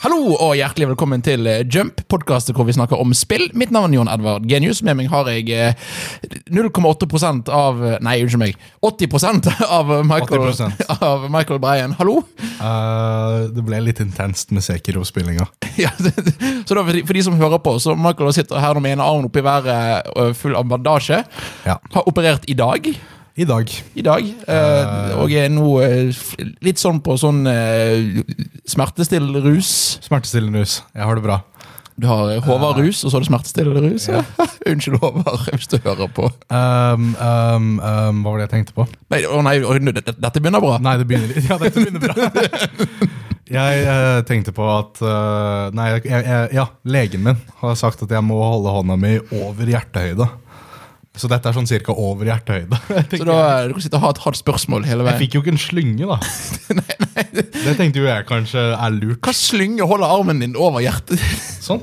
Hallo og hjertelig velkommen til eh, Jump, podkastet hvor vi snakker om spill. Mitt navn er Jon Edvard Genius. Med meg har jeg eh, 0,8 av Nei, unnskyld meg. 80 av Michael, 80%. av Michael Bryan. Hallo? Eh, det ble litt intenst med Sekiro-spillinga. Ja, det- det- så da, for, de, for de som hører på, så Michael sitter her nå med ene armen oppi været eh, full av bandasje. Ja. Har operert i dag. I dag. i dag. eh, og er nå eh, f- litt sånn på sånn eh, smertestillende rus. Smertestillende rus. Jeg har det bra. Du har eh, Håvard rus, og så har du smertestillende rus. Unnskyld, Håvard, hvis du hører på. Ehm, ehm, ehm, hva var det jeg tenkte på? Nei, å nei, å, nå, dette dette begynner bra. Nei, det begynner litt. Ja, dette begynner bra. Jeg eh, tenkte på at eh, Nei, jeg, jeg, ja, legen min har sagt at jeg må holde hånda mi over hjertehøyde. Så dette er sånn cirka over hjertehøyde. Jeg Så tenkte- da eh, du kan sitte og ha et hardt spørsmål hele Jeg veien. fikk jo ikke en slynge, da. Det tenkte jo jeg kanskje er lurt. Hva slynge holder armen din over hjertet? Sånn.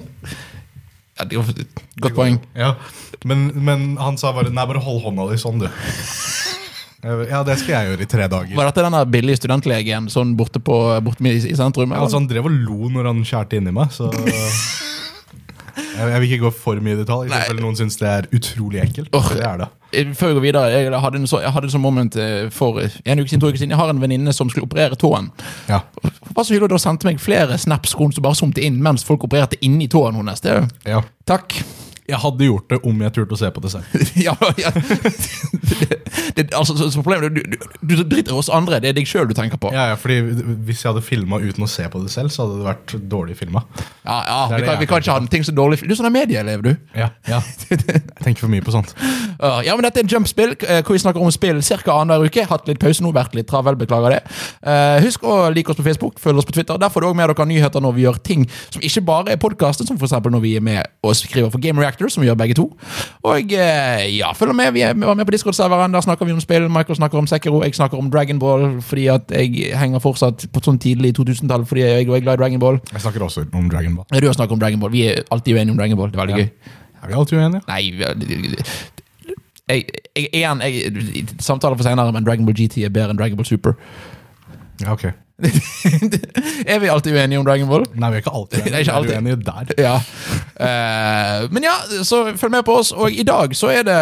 ja, det er jo et Godt poeng. Ja, men, men han sa bare Nei, bare hold hånda di sånn, du. Jeg bare, Ja, det skal jeg gjøre i tre dager. Var dette den der billige studentlegen sånn borte, på, borte med, i sentrum? eller? Altså, han drev og lo når han skjærte inni meg, så jeg, jeg vil ikke gå for mye i detalj. i Nei. tilfelle Noen syns det er utrolig ekkelt. Åh. for Det er det. Eh, Før vi går videre, jeg hadde en så, jeg hadde en sånn moment eh, for en uke siden, to uker siden. Jeg har en venninne som skulle operere tåen. Ja. Hva så hyggelig, da sendte meg flere snaps hvor hun som bare zoomte inn mens folk opererte inni tåen hennes. Det er jo ja. Takk. Jeg hadde gjort det om jeg turte å se på det selv. ja, ja. Det, det, altså, så, så problemet er du, du, du driter i oss andre, det er deg sjøl du tenker på. Ja, Ja, ja, fordi Hvis jeg hadde filma uten å se på det selv, så hadde det vært dårlig filma. ja, Det er vi, det kan, jeg vi kan ikke ha ting så dårlig Du er sånn en medieelev, du. Ja, ja. Jeg tenker for mye på sånt. Uh, ja, men Dette er Jumpspill, eh, hvor vi snakker om spill ca. annenhver uke. Hatt litt pause nå, vært litt travel, beklager det. Eh, husk å like oss på Facebook, følg oss på Twitter. Der får du også med dere nyheter når vi gjør ting som ikke bare er podkastet, som f.eks. når vi er med og skriver for Game Reactor, som vi gjør begge to. Og eh, ja, følg med. Vi er vi var med på Discord-serveren, der snakker vi om spill. Michael snakker om Sekiro, jeg snakker om Dragonball fordi at jeg henger fortsatt på sånn tidlig 2000-tall fordi jeg er glad i Dragonball. Jeg snakker også om Dragon Ball. Du har snakket om Dragonball. Vi er alltid uenige om Dragonball. Det er veldig Ja. gøy. Er vi alltid uenige? Nei vi- jeg, jeg, igjen, jeg, Samtaler for senere, men Dragon Ball GT er bedre enn Dragon Ball Super. Ja, ok. er vi alltid uenige om Dragon Ball? Nei, vi er ikke alltid Det er ikke uenige. Vi alltid. er uenige der. Ja. Eh, men ja, så følg med på oss. Og i dag så er det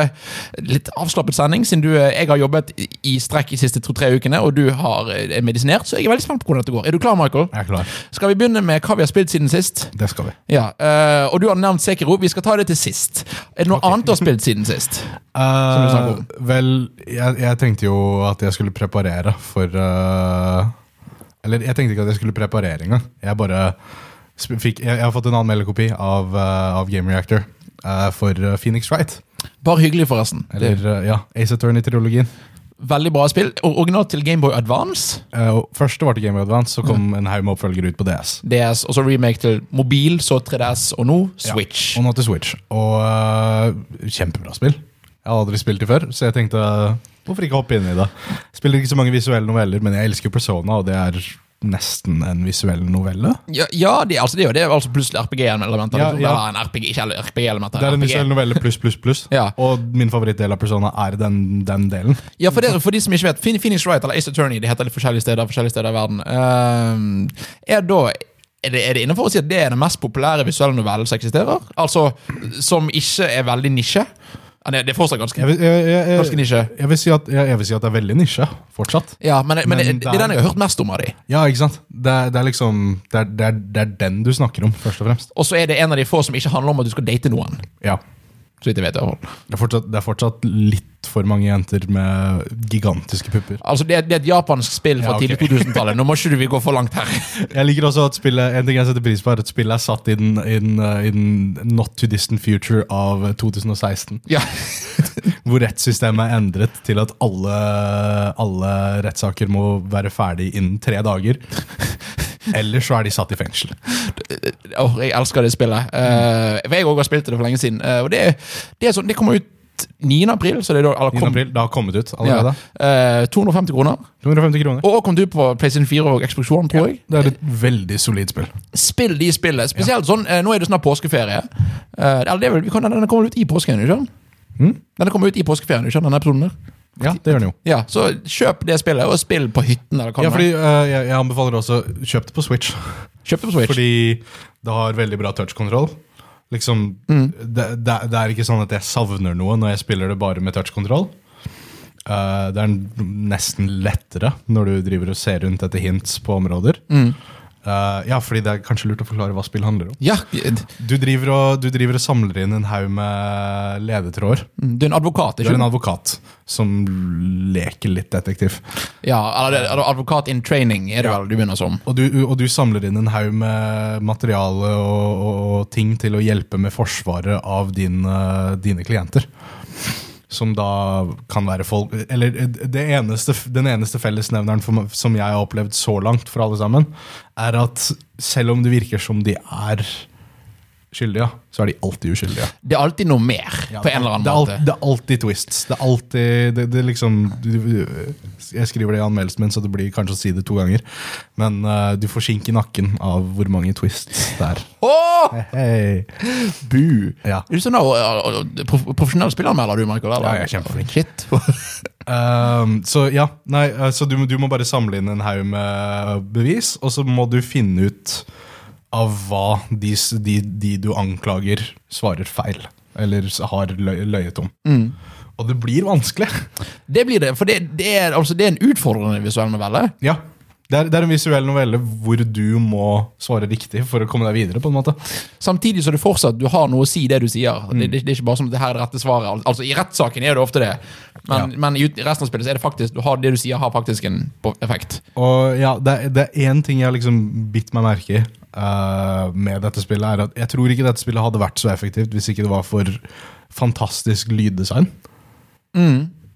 litt avslappet sending, siden du, eh, jeg har jobbet i- i strekk de siste to-tre ukene, og du har, eh, er medisinert. Så jeg er veldig spent på hvordan dette går. Er du klar, Michael? Jeg er klar. Skal vi begynne med hva vi har spilt siden sist? Det skal vi. Ja, eh, Og du har nevnt Sekiro. Vi skal ta det til sist. Er det noe annet du har spilt siden sist? du snakker om. Eh, vel, jeg, jeg tenkte jo at jeg skulle preparere for eh, Eller jeg tenkte ikke at jeg skulle preparere engang. Jeg bare sp- fikk Jeg, jeg har fått en anmeldekopi av, eh, av Game Reactor eh, for eh, Phoenix Wright. Bare hyggelig, forresten. Eller eh, ja, Ace Attorney-trilogien. Veldig bra spill. Og Originalt til Gameboy Advance. Eh, og Først det var til Game Boy Advance, så kom en haug med oppfølgere ut på DS. DS, og så altså remake til mobil, så 3DS, og nå Switch. Ja, og nå til Switch. Og eh, kjempebra spill. Jeg har aldri spilt det før, så jeg tenkte eh, hvorfor ikke hoppe inn i det. Spiller ikke så mange visuelle noveller, men jeg elsker Persona, og det er nesten en visuell novelle. Ja, ja det, er altså, det, er jo- det er jo altså plutselig RPG-elementer. Ja, liksom. ja. Eller en RPG, ikke heller RPG-elementer. Det er en RPG. visuell novelle pluss, pluss, pluss. Ja. Og min favorittdel av Persona er den, den delen. Ja, for, dere, for de som ikke vet, Phoen- Phoenix Wright eller Ace Attorney, det heter litt forskjellige steder, forskjellige steder i verden. Ehm, er da... Er det, er det innenfor å si at det er den mest populære visuelle novellen som eksisterer? Altså, Som ikke er veldig nisje? Ja, Det det er fortsatt ganske, Jeg vil, jeg, jeg, ganske jeg, nisje. jeg, vil si at, jeg, jeg vil si at det er veldig nisje, fortsatt. Ja, men, men, Men det, det er den jeg har hørt mest om av de. Ja, ikke sant? Det er, det er liksom det er, det, er, det er den du snakker om, først og fremst. Og så er det en av de få som ikke handler om at du skal date noen. Ja. Så vidt jeg vet i hvert fall. Det er fortsatt, det er fortsatt litt for mange jenter med gigantiske pupper. Altså, det, er- det er et japansk spill fra Ja, ok. tidlig 2000-tallet. Nå må ikke du vi gå for langt her. Jeg liker også at spillet En ting jeg setter pris på, er at spillet er satt i den, i den, eh, i den not too distant future av 2016. Ja, Hvor rettssystemet er endret til at alle, alle rettssaker må være ferdig innen tre dager. Ellers så er de satt i fengsel. Åh, Jeg elsker det spillet. Eh, for jeg òg har spilt det for lenge siden. Eh, og det, det, er sånn, det kommer ut 9. april, så det er da eller 9. kom- april, det har kommet ut Ja, allerede. Eh, 250 kroner. 250 kroner. Og kom du på PlayStation 4 og Xbox One, tror jeg. Det er et veldig solid spill. Spill de spillene. Spesielt sånn, eh, Nå er det snart påskeferie. Eh, eller det er vel, vi kan, denne kommer vel ut i påsken? ikke sant? Mm. Denne kommer ut i påskeferien, ikke sant? denne episoden der? Ja, det gjør den jo. Ja, Så kjøp det spillet, og spill på hytten. eller hva Ja, det uh, er. fordi eh, jeg, jeg anbefaler også kjøp det på Switch. Kjøpte på Switch. Fordi det har veldig bra touchkontroll. Liksom, det, det, det er ikke sånn at jeg savner noe når jeg spiller det bare med touchkontroll. Eh, det er nesten lettere når du driver og ser rundt etter hints på områder. Eh, ja, fordi det er kanskje lurt å forklare hva spill handler om. Ja, du Du driver og, du driver og samler inn en haug med ledetråder. Mm, er en advokat, Du er ikke en sant? advokat som leker litt detektiv. Ja, eller det- eller advokat in training er det Ja. vel du begynner som. Og du, og du samler inn en haug med materiale og, og, og ting til å hjelpe med forsvaret av din, eh, dine klienter. Som da kan være folk Eller eh, det eneste, den eneste fellesnevneren for, meg- som jeg har opplevd så langt for alle sammen, er at selv om det virker som de er skyldige, så er de alltid uskyldige. Det er alltid noe mer, på en eller annen det er, måte. alt, det er alltid twists. Det er alltid det, det er liksom Jeg skriver det i anmeldelsen min, så det blir kanskje å si det to ganger. Men eh, du får skink i nakken av hvor mange twists det er. Åh! Hei. Bu! Ja. Er du sånn og- og- og- prof- profesjonell spilleranmelder, du, Michael? Eller? Ja, jeg er kjempeflink. Shit. Um, så ja, nei, eh, så du, må- du må bare samle inn en haug med bevis, og så må du finne ut av hva de, s- de, de du anklager, svarer feil. Eller s- har løy, løyet om. Mm. Og det blir vanskelig. Det blir det, for det, det, er, altså, det er en utfordrende visuell novelle. Ja. Det er, det er en visuell novelle hvor du må svare riktig for å komme deg videre. på en måte. Samtidig så er det fortsatt du har noe å si det du sier. Mm. Det, det, det er ikke bare som det her er det rette svaret. Al- Altså I rettssaken er det ofte det, men, men i ut- i resten av spillet så er det faktisk du har det du sier, har faktisk en på- effekt. Og ja, Det er- det er én ting jeg har liksom bitt meg merke i eh, med dette spillet, er at jeg tror ikke dette spillet hadde vært så effektivt hvis ikke det var for fantastisk lyddesign.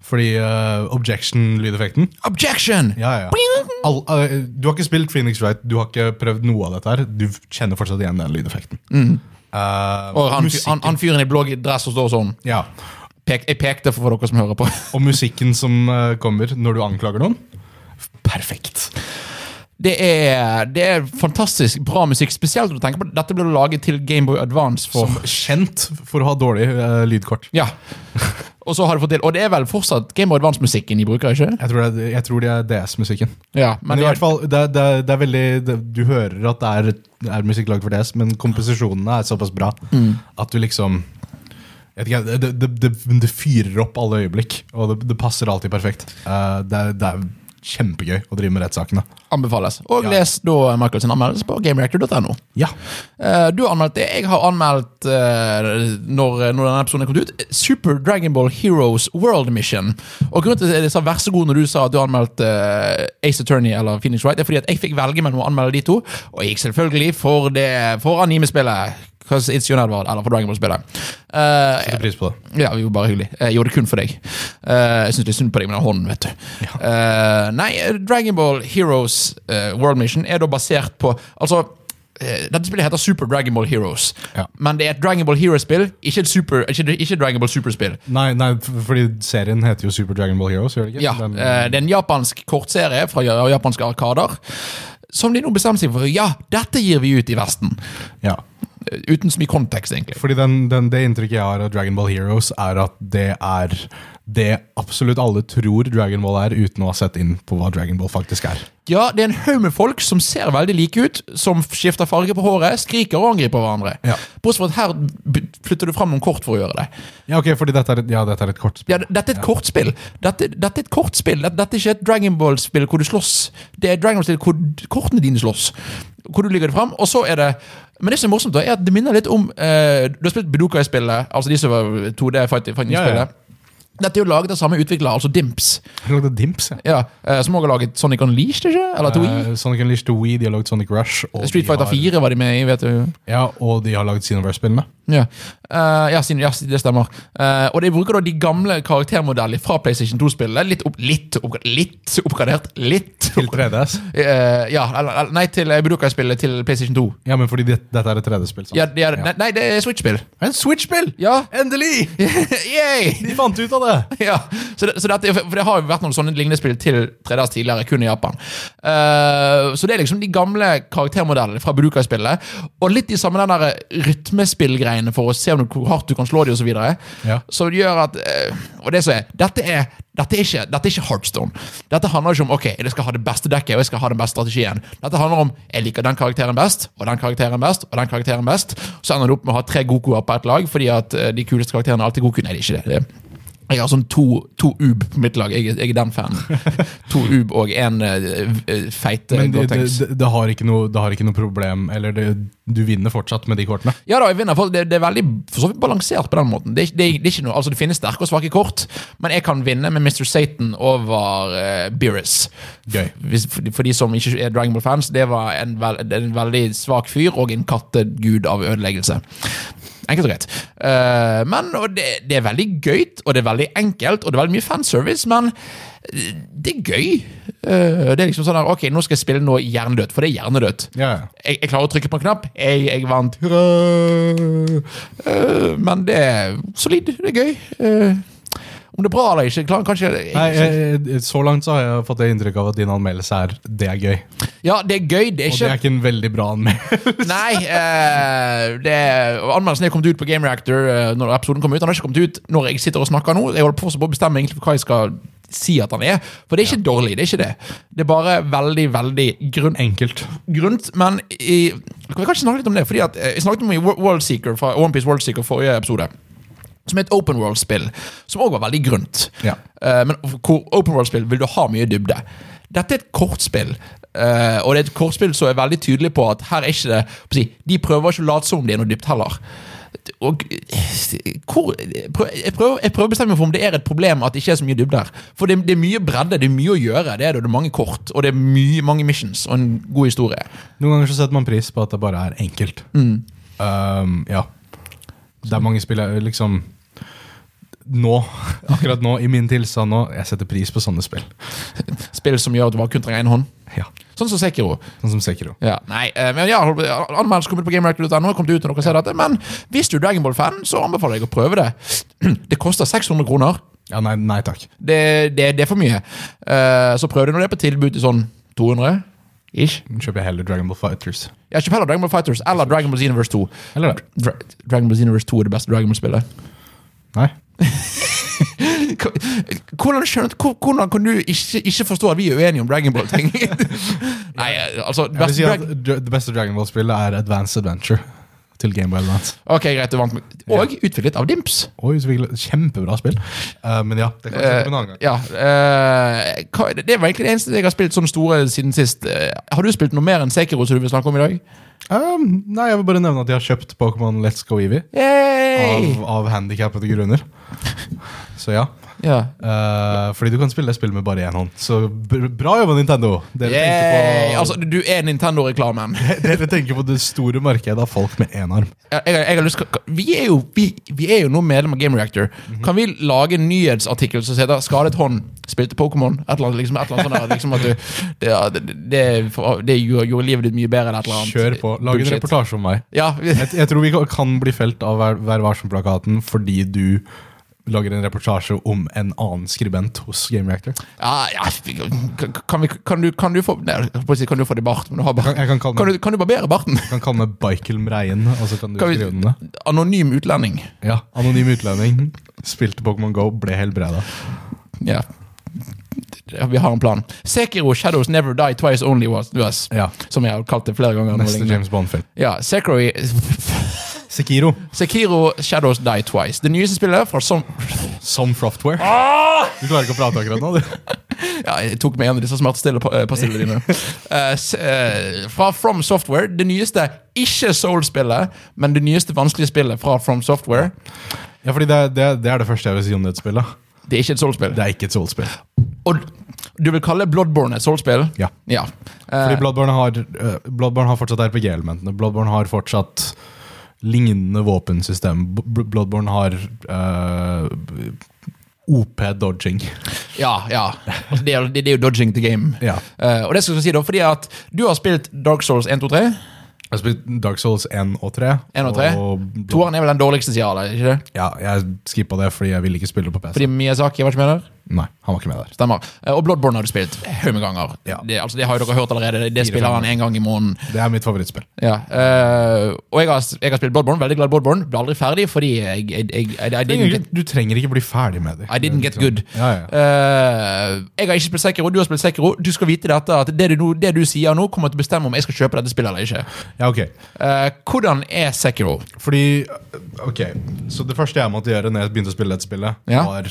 Fordi eh, objection-lydeffekten Objection! Ja, ja, ja. All, eh, du har ikke spilt Phoenix Wright, du har ikke prøvd noe av dette her. Du kjenner fortsatt igjen den lydeffekten. Eh, Og han, musikken- han, han fyren i blå dress som står sånn ja. pek, Jeg pekte for, for dere som hører på. Og musikken som eh, kommer når du anklager noen. Perfekt. Det er, det er fantastisk bra musikk, spesielt når du tenker på at dette ble laget til Gameboy Advance for Som kjent for å ha dårlig eh, lydkort. Ja. Og så har du fått til Og det er vel fortsatt Gameboy Advance-musikken de bruker, ikke? Jeg tror det er, jeg tror det er DS-musikken. Ja, Men, i det- hvert fall, det, er- det, er- det er veldig det, Du hører at det er, det er musikk lagd for DS, men komposisjonene er såpass bra at du liksom jeg vet ikke, det, det, det, det fyrer opp alle øyeblikk, og det, det passer alltid perfekt. Eh, det, er, det er kjempegøy å drive med rettssakene. anbefales. Og Ja. les da Michaels anmeldelse på gamereactor.no. Ja. Eh, Du har anmeldt det. Jeg har anmeldt, eh, når, når denne episoden er kommet ut, Super Dragon Ball Heroes World Mission. Og grunnen til at jeg sa vær så god når du sa at du anmeldte eh, Ace Attorney eller Phoenix Wright, er fordi at jeg fikk velge mellom å anmelde de to, og jeg gikk selvfølgelig for, det- for animespillet. Because it's your Edward, eller for Dragon Ball-spillet. Eh, Setter pris på det. ja, vi var bare hyggelig. Jeg gjorde det kun for deg. Eh, jeg syns det er synd på deg med den hånden, vet du. Eh, nei, Dragonball Heroes eh, World Mission er da basert på Altså, eh, dette spillet heter Super Dragonball Heroes, Ja. men det er et Dragonball Heroes-spill, ikke et Super, ikke, ikke et Dragonball Superspill. Nei, nei, f- fordi serien heter jo Super Dragon Ball Heroes, gjør det ikke? Ja, Den- eh, Det er en japansk kortserie fra ja- japanske arkader. Som de nå bestemmer seg for. Ja, dette gir vi ut i Vesten! ja. Eh, Uten så mye kontekst, egentlig. Fordi den, den, det inntrykket jeg har av Dragon Ball Heroes, er at det er det absolutt alle tror Dragon Ball er, uten å ha sett inn på hva Dragon Ball faktisk er. Ja, det er en haug med folk som ser veldig like ut, som skifter farge på håret, skriker og angriper hverandre. Ja. Bortsett fra at her b- flytter du fram noen kort for å gjøre det. Ja, ok, fordi dette er, et- ja, dette er et kortspill. Ja, d- dette er et kortspill. Dette, dette er et kortspill. Dette, dette er ikke et Dragonball-spill hvor du slåss. Det er Dragonball-spill hvor d- kortene dine slåss. Hvor du ligger det fram, og så er det men det som er morsomt da, er at det minner litt om eh, Du har spilt Budokai-spillet, altså de som var 2D-fighting-spillet. Ja, ja. Dette er jo laget av samme utvikler, altså Dimps, Jeg lagde Dimps, jeg. ja, eh, som også har laget Sonic Unleashed, ikke? Eller to Eh, Sonic Unleashed to Wii, de har lagd Sonic Rush. Og Street de Fighter har- 4 var de med i, vet du. Ja, og de har lagd Xenoverse-spillene. Ja, Eh, ja, siden- ja det stemmer. Eh, og de bruker da de gamle karaktermodellene fra PlayStation 2-spillet. Litt, opp, litt, opp, litt oppgradert. Litt Til 3DS. Eh, Ja, eller, eller- nei, til eh, Budokai-spillet til PlayStation 2. Ja, men fordi det, dette er et 3D-spill. sant? Ja, det er, nei, nei, det er Switch-spill. En Switch-spill! Ja! Endelig! Yay! De fant ut av det! Ja, så det, så dette, for det har jo vært noen sånne lignende spill til 3DS tidligere, kun i Japan. Eh, så det er liksom de gamle karaktermodellene fra Buduka-spillet. Og litt de samme den der rytmespillgreiene for å se om du, hvor hardt du kan slå de osv. Ja. Som gjør at eh, Og det som er Dette er dette er, ikke, dette er ikke Heartstone. Dette handler ikke om ok, jeg skal ha det beste dekket og jeg skal ha den beste strategien. Dette handler om jeg liker den karakteren best, og den karakteren best, og den karakteren best. Så ender du opp med å ha tre Gokuer på ett lag, fordi at eh, de kuleste karakterene er alltid Goku. Nei, det er ikke det. det er jeg har sånn to, to UB på mitt lag. Jeg, er- jeg er den fanen. To UB og én feite Men det, det, Gotenks. det, det, har ikke noe, det har ikke noe problem Eller det, du vinner fortsatt med de kortene. Ja da, jeg vinner, for det, det er veldig for så vidt balansert på den måten. Det, er- det, er- det, er ikke noe, altså, det finnes sterke og svake kort, men jeg kan vinne med Mr. Satan over uh, Beerus. Gøy. Hvis, for, for de som ikke er Dragon Ball-fans, det var en, vel- en veldig svak fyr og en kattegud av ødeleggelse. Enkelt og greit. Eh, men og det, det er veldig gøy, og det er veldig enkelt, og det er veldig mye fanservice, men det er gøy. Eh, det er liksom sånn der, ok, nå skal jeg spille noe hjernedødt, for det er hjernedødt Ja, ja. jeg, jeg klarer å trykke på en knapp. Jeg, jeg vant. Hurra! Eh, men det er solid. Det er gøy. Eh, om det er bra eller ikke, klar, kanskje jeg- Nei, eh, jeg, jeg, så langt så har jeg fått det inntrykk av at din anmeldelse er det er gøy. Ja, det er gøy. Det er Og det ikke er ikke en veldig bra anmeldelse. Nei. eh, det er- Anmeldelsen er kommet ut på Game Reactor eh, når episoden kom ut. Den har ikke kommet ut når jeg sitter og snakker nå. Jeg holder på fortsatt på å bestemme egentlig for hva jeg skal si at han er. For det er ikke dårlig. Det er ikke det. Det er bare veldig, veldig grunn Enkelt. grunt, men i, vi kan ikke snakke litt om det. fordi at eh, Jeg snakket om i Wo- World Seeker fra One Piece World Seeker forrige episode. Som er et open world-spill, som òg var veldig grunt. Ja. Eh, men hvor open world-spill vil du ha mye dybde. Dette er et kortspill, eh, og det er et kortspill som er veldig tydelig på at her er ikke det på å si, De prøver ikke å late som det er noe dypt heller. Og eh, hvor, jeg prøver- jeg prøver jeg prøver å bestemme meg for om det er et problem at det ikke er så mye dybde her. For det, det er mye bredde, det er mye å gjøre, det er det, og det er mange kort, og det er mye, mange missions og en god historie. Noen ganger så setter man pris på at det bare er enkelt. Mm. Um, ja. Det er mange spill jeg liksom Nå, akkurat nå, i min tilstand nå, jeg setter pris på sånne spill. Spill som gjør at du bare kun trenger én hånd. Ja, Sånn som Sekiro. Sånn som Sekiro. Ja, nei, eh, men ja, Anmeldelse kommer ut på gamereactor.no. Kom ut når dere ser dette Men hvis du er Dragonball-fan, så anbefaler jeg å prøve det. Det koster 600 kroner. Ja, nei, nei takk. Det, det, det er for mye. Eh, Så prøv det når det er på tilbud til sånn 200. Ish. Nå kjøper jeg heller Dragon Ball Fighters. Jeg har ikke heller Dragon Ball Fighters eller Dragon Ball Xenoverse 2. Eller det? Dra Dragon Ball Xenoverse 2 er det beste Dragon Ball-spillet. Nei. Hvordan, skjønner, hvor- hvordan kan du ikke, ikke forstå at vi er uenige om Dragon Ball-ting? Nei, eh, altså Jeg vil beste si Drag- at dra- Det beste Dragon Ball-spillet er Advanced Adventure til Game Boy Advance. Ok, greit, du vant med. Og utviklet av Dimps. Og utviklet Kjempebra spill. Eh, men ja, det kan vi se på en annen gang. Ja, eh, hva- det var egentlig det eneste jeg har spilt sånn store siden sist. Eh, har du spilt noe mer enn Sekiro som du vil snakke om i dag? Um, nei, Jeg vil bare nevne at jeg har kjøpt Pokémon Let's Go Evie Yay! av, av handikappede grunner. Så ja. Ja. Eh, fordi du kan spille spill med bare én hånd. Så br- bra jobba, Nintendo! Dere Yay! tenker, på, Altså, du er Nintendo-reklamen. dere tenker på det store markedet av folk med én arm. Jeg, jeg, jeg har lyst til- vi, er jo- vi, vi er jo nå medlem av Game Reactor. Mhm. Kan vi lage en nyhetsartikkel som heter 'Skadet hånd spilte Pokémon'? Et eller annet, liksom, et eller annet sånt der, liksom at du, det, det, det, det gjorde gjorde livet ditt mye bedre. Eller et eller annet. Kjør på. Lag en Bullshit. reportasje om meg. Ja, Jeg, jeg tror vi kan- kan bli felt av Vær, Vær varsom-plakaten fordi du lager en reportasje om en annen skribent hos Game Reactor. Ja, ja vi- kan, kan, vi, kan, du, kan du få Nei, jeg holdt på å si, kan du få det i bart? Men du har Kan, bart. jeg kan kalle Kan, meg, du, kan du barbere barten? kan kalle meg Bikelm Reien, og så kan du Kan vi- skrive om det. Anonym utlending. Ja, Anonym utlending. Spilte Pokémon Go, ble helbreda. Ja. Ja, Vi har en plan. Sekiro Shadows Never Die Twice Only Was. Us, Ja, som jeg har kalt det flere ganger. nå Neste lenge. James Bond-film. Ja, Sekiro, Sekiro. Sekiro Shadows Die Twice. Det nyeste spillet fra som Some Software. Ah! Du klarer ikke å prate akkurat nå, du. Ja, jeg tok med en av disse smertestillende pa- eh, pastillene dine. Eh, s- eh, fra From Software, det nyeste ikke Soul-spillet, men det nyeste vanskelige spillet fra From Software. Ja, fordi det, er- det, er- det er det første jeg vil si om det spillet. Det er ikke et Soul-spill. Det er ikke et Soul-spill. Og du vil kalle Bloodborne et soulspill? Ja. ja. Fordi Eh, Bloodborne har, eh, Bloodborne har fortsatt RPG-elementene. Bloodborne har fortsatt lignende våpensystem. B- B- Bloodborne har eh, b- OP-dodging. ja, ja. Altså, Det er, det, det er jo dodging the game. Ja. Eh, og det skal jeg si da, fordi at du har spilt Dark Souls 1, 2, 3. Jeg har spilt Dark Souls 1 og 3. En og tre? Toeren er vel den dårligste sida av det? ikke det? Ja, jeg skippa det fordi jeg ville ikke spille det på PC. Fordi Miyazaki var ikke med der? Nei, han var ikke med der. Stemmer. Eh, Og Bloodborne har du spilt haug med ganger. Ja. Det, altså, det har jo dere hørt allerede. Det- Det spiller han en gang i måneden. Det er mitt favorittspill. Ja, eh, og jeg har, jeg har spilt Bloodborne, veldig glad i Bloodborne. Ble aldri ferdig fordi jeg, jeg, jeg, I, I, Du didn't, trenger get, ikke, du trenger ikke bli ferdig med det. I didn't get good. Ja, ja. Eh, jeg har ikke spilt Sekiro, du har spilt Sekiro. Du skal vite dette, at det du, nå- det du sier nå, kommer til å bestemme om jeg skal kjøpe dette spillet eller ikke. ja, ok. Eh, hvordan er Sekiro? Fordi eh, Ok, så det første jeg måtte gjøre når jeg begynte å spille dette spillet, Ja. var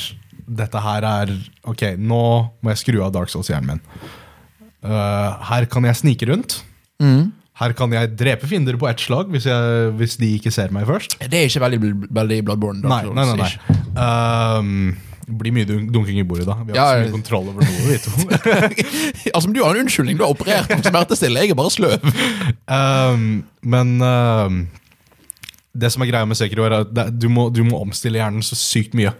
Dette her er Ok, nå må jeg skru av Dark Souls-hjernen min. Eh, her kan jeg snike rundt. Mm. Her kan jeg drepe fiender på ett slag hvis, jeg, hvis de ikke ser meg først. Det er ikke veldig, bl- veldig Bloodborne. Dark Nei, nei, nei, Souls-ish. nei. Ehm, det blir mye dun- dunking i bordet da. Vi har Ja, ikke så ja. mye kontroll over noe, vi to. altså, men Du har en unnskyldning, du har operert om smertestillende. Jeg er bare sløv. Ehm, men ehm, det som er greia med Sekiro, er at det, du, må, du må omstille hjernen så sykt mye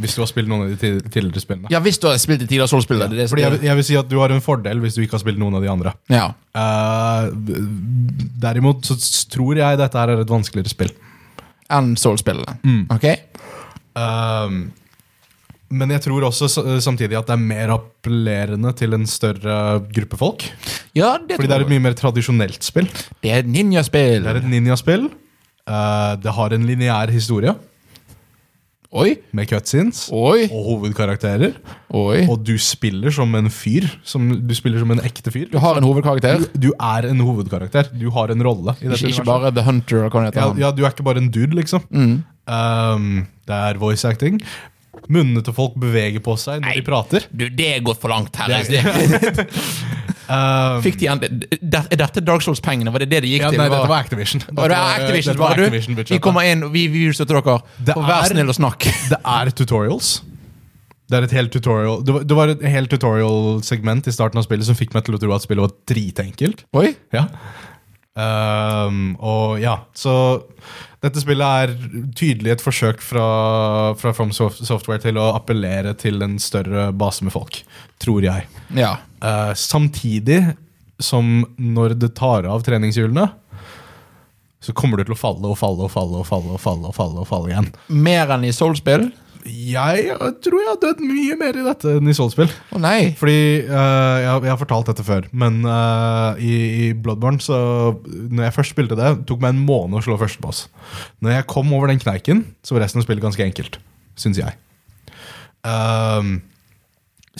hvis du har spilt noen av de ti- tidligere spillene. Ja, hvis du har spilt i tidligere Soul-spill. det er det som- Fordi jeg, vil- jeg vil si at du har en fordel hvis du ikke har spilt noen av de andre. Ja. Eh, derimot så s- tror jeg dette her er et vanskeligere spill. Enn Soul-spillene. Mm. Ok? Ehm, men jeg tror også s- samtidig at det er mer appellerende til en større gruppe folk. Ja, det Fordi det tror er et jeg. mye mer tradisjonelt spill. Det er et ninjaspill. Det er et ninjaspill. Eh, det har en lineær historie Oi, med cutscenes oi, og hovedkarakterer. oi. Og du spiller som en fyr. Som, du spiller som en ekte fyr. Du har en hovedkarakter. Du er en hovedkarakter. Du har en rolle. i dette Ikke, ikke universet. bare Mm. The Hunter. eller hva det heter ja, han. ja, Du er ikke bare en dude, liksom. Um, det er voice acting. Munnene til folk beveger på seg når Nei. de prater. Du, det er gått for langt her. Det- altså, det- Fikk de en, det, Er dette Dark Souls-pengene? Var det det de gikk Um, Ja, til? nei, Var- dette var Activision. Dette Var det Activision, dette var var du? Activision-budsjettet. Vi kommer inn, og vi, vi støtter dere. Det og vær er- snill og snakk. Det er tutorials. Det er et helt tutorial Det var, det var et helt tutorial-segment i starten av spillet som fikk meg til å tro at spillet var dritenkelt. Oi. Ja. Ehm, og ja, så dette spillet er tydelig et forsøk fra, fra From Sof- Software til å appellere til en større base med folk, tror jeg. Ja. Eh, samtidig som når det tar av treningshjulene, så kommer du til å falle og falle og falle og falle og falle og falle, og falle igjen. Mer enn i Soul-spill? Jeg tror jeg har dødd mye mer i dette enn i Soulspill. Å nei. Fordi eh, jeg, har- jeg har fortalt dette før, men eh, i, i Bloodborne så Når jeg først spilte det, tok meg en måned å slå første boss. Når jeg kom over den kneiken, så var resten av spillet ganske enkelt. Syns jeg. Ehm,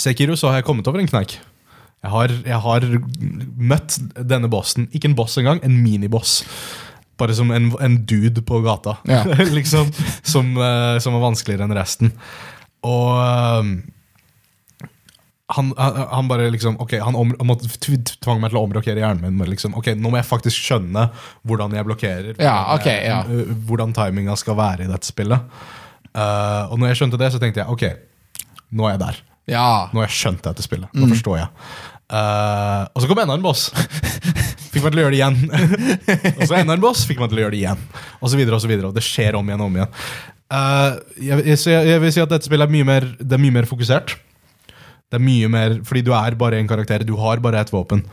Sekiro så har jeg kommet over en kneik. Jeg har, jeg har møtt denne bossen. Ikke en boss engang, en miniboss. Bare som en, en dude på gata, Ja. liksom. Som, eh, som er vanskeligere enn resten. Og ehm, han, han, han bare liksom Ok, han, om, han måtte tv- tvang meg til å omrokere hjernen min. Med liksom, ok, Nå må jeg faktisk skjønne hvordan jeg blokkerer. Ja, ok, hvordan, ja. eh, hvordan timinga skal være i dette spillet. Eh, og når jeg skjønte det, så tenkte jeg ok, nå er jeg der. Ja. Nå har jeg skjønt dette spillet. Nå forstår jeg. Eh, og så kom enda en boss. Fikk meg til å gjøre det igjen. og så enda en boss. Fikk meg til å gjøre det igjen. Og så videre og så videre. Og det skjer om igjen og om igjen. Eh, jeg, jeg, så jeg, jeg vil si at dette spillet er mye mer, det er mye mer fokusert. Det er mye mer, Fordi du er bare én karakter. Du har bare ett våpen.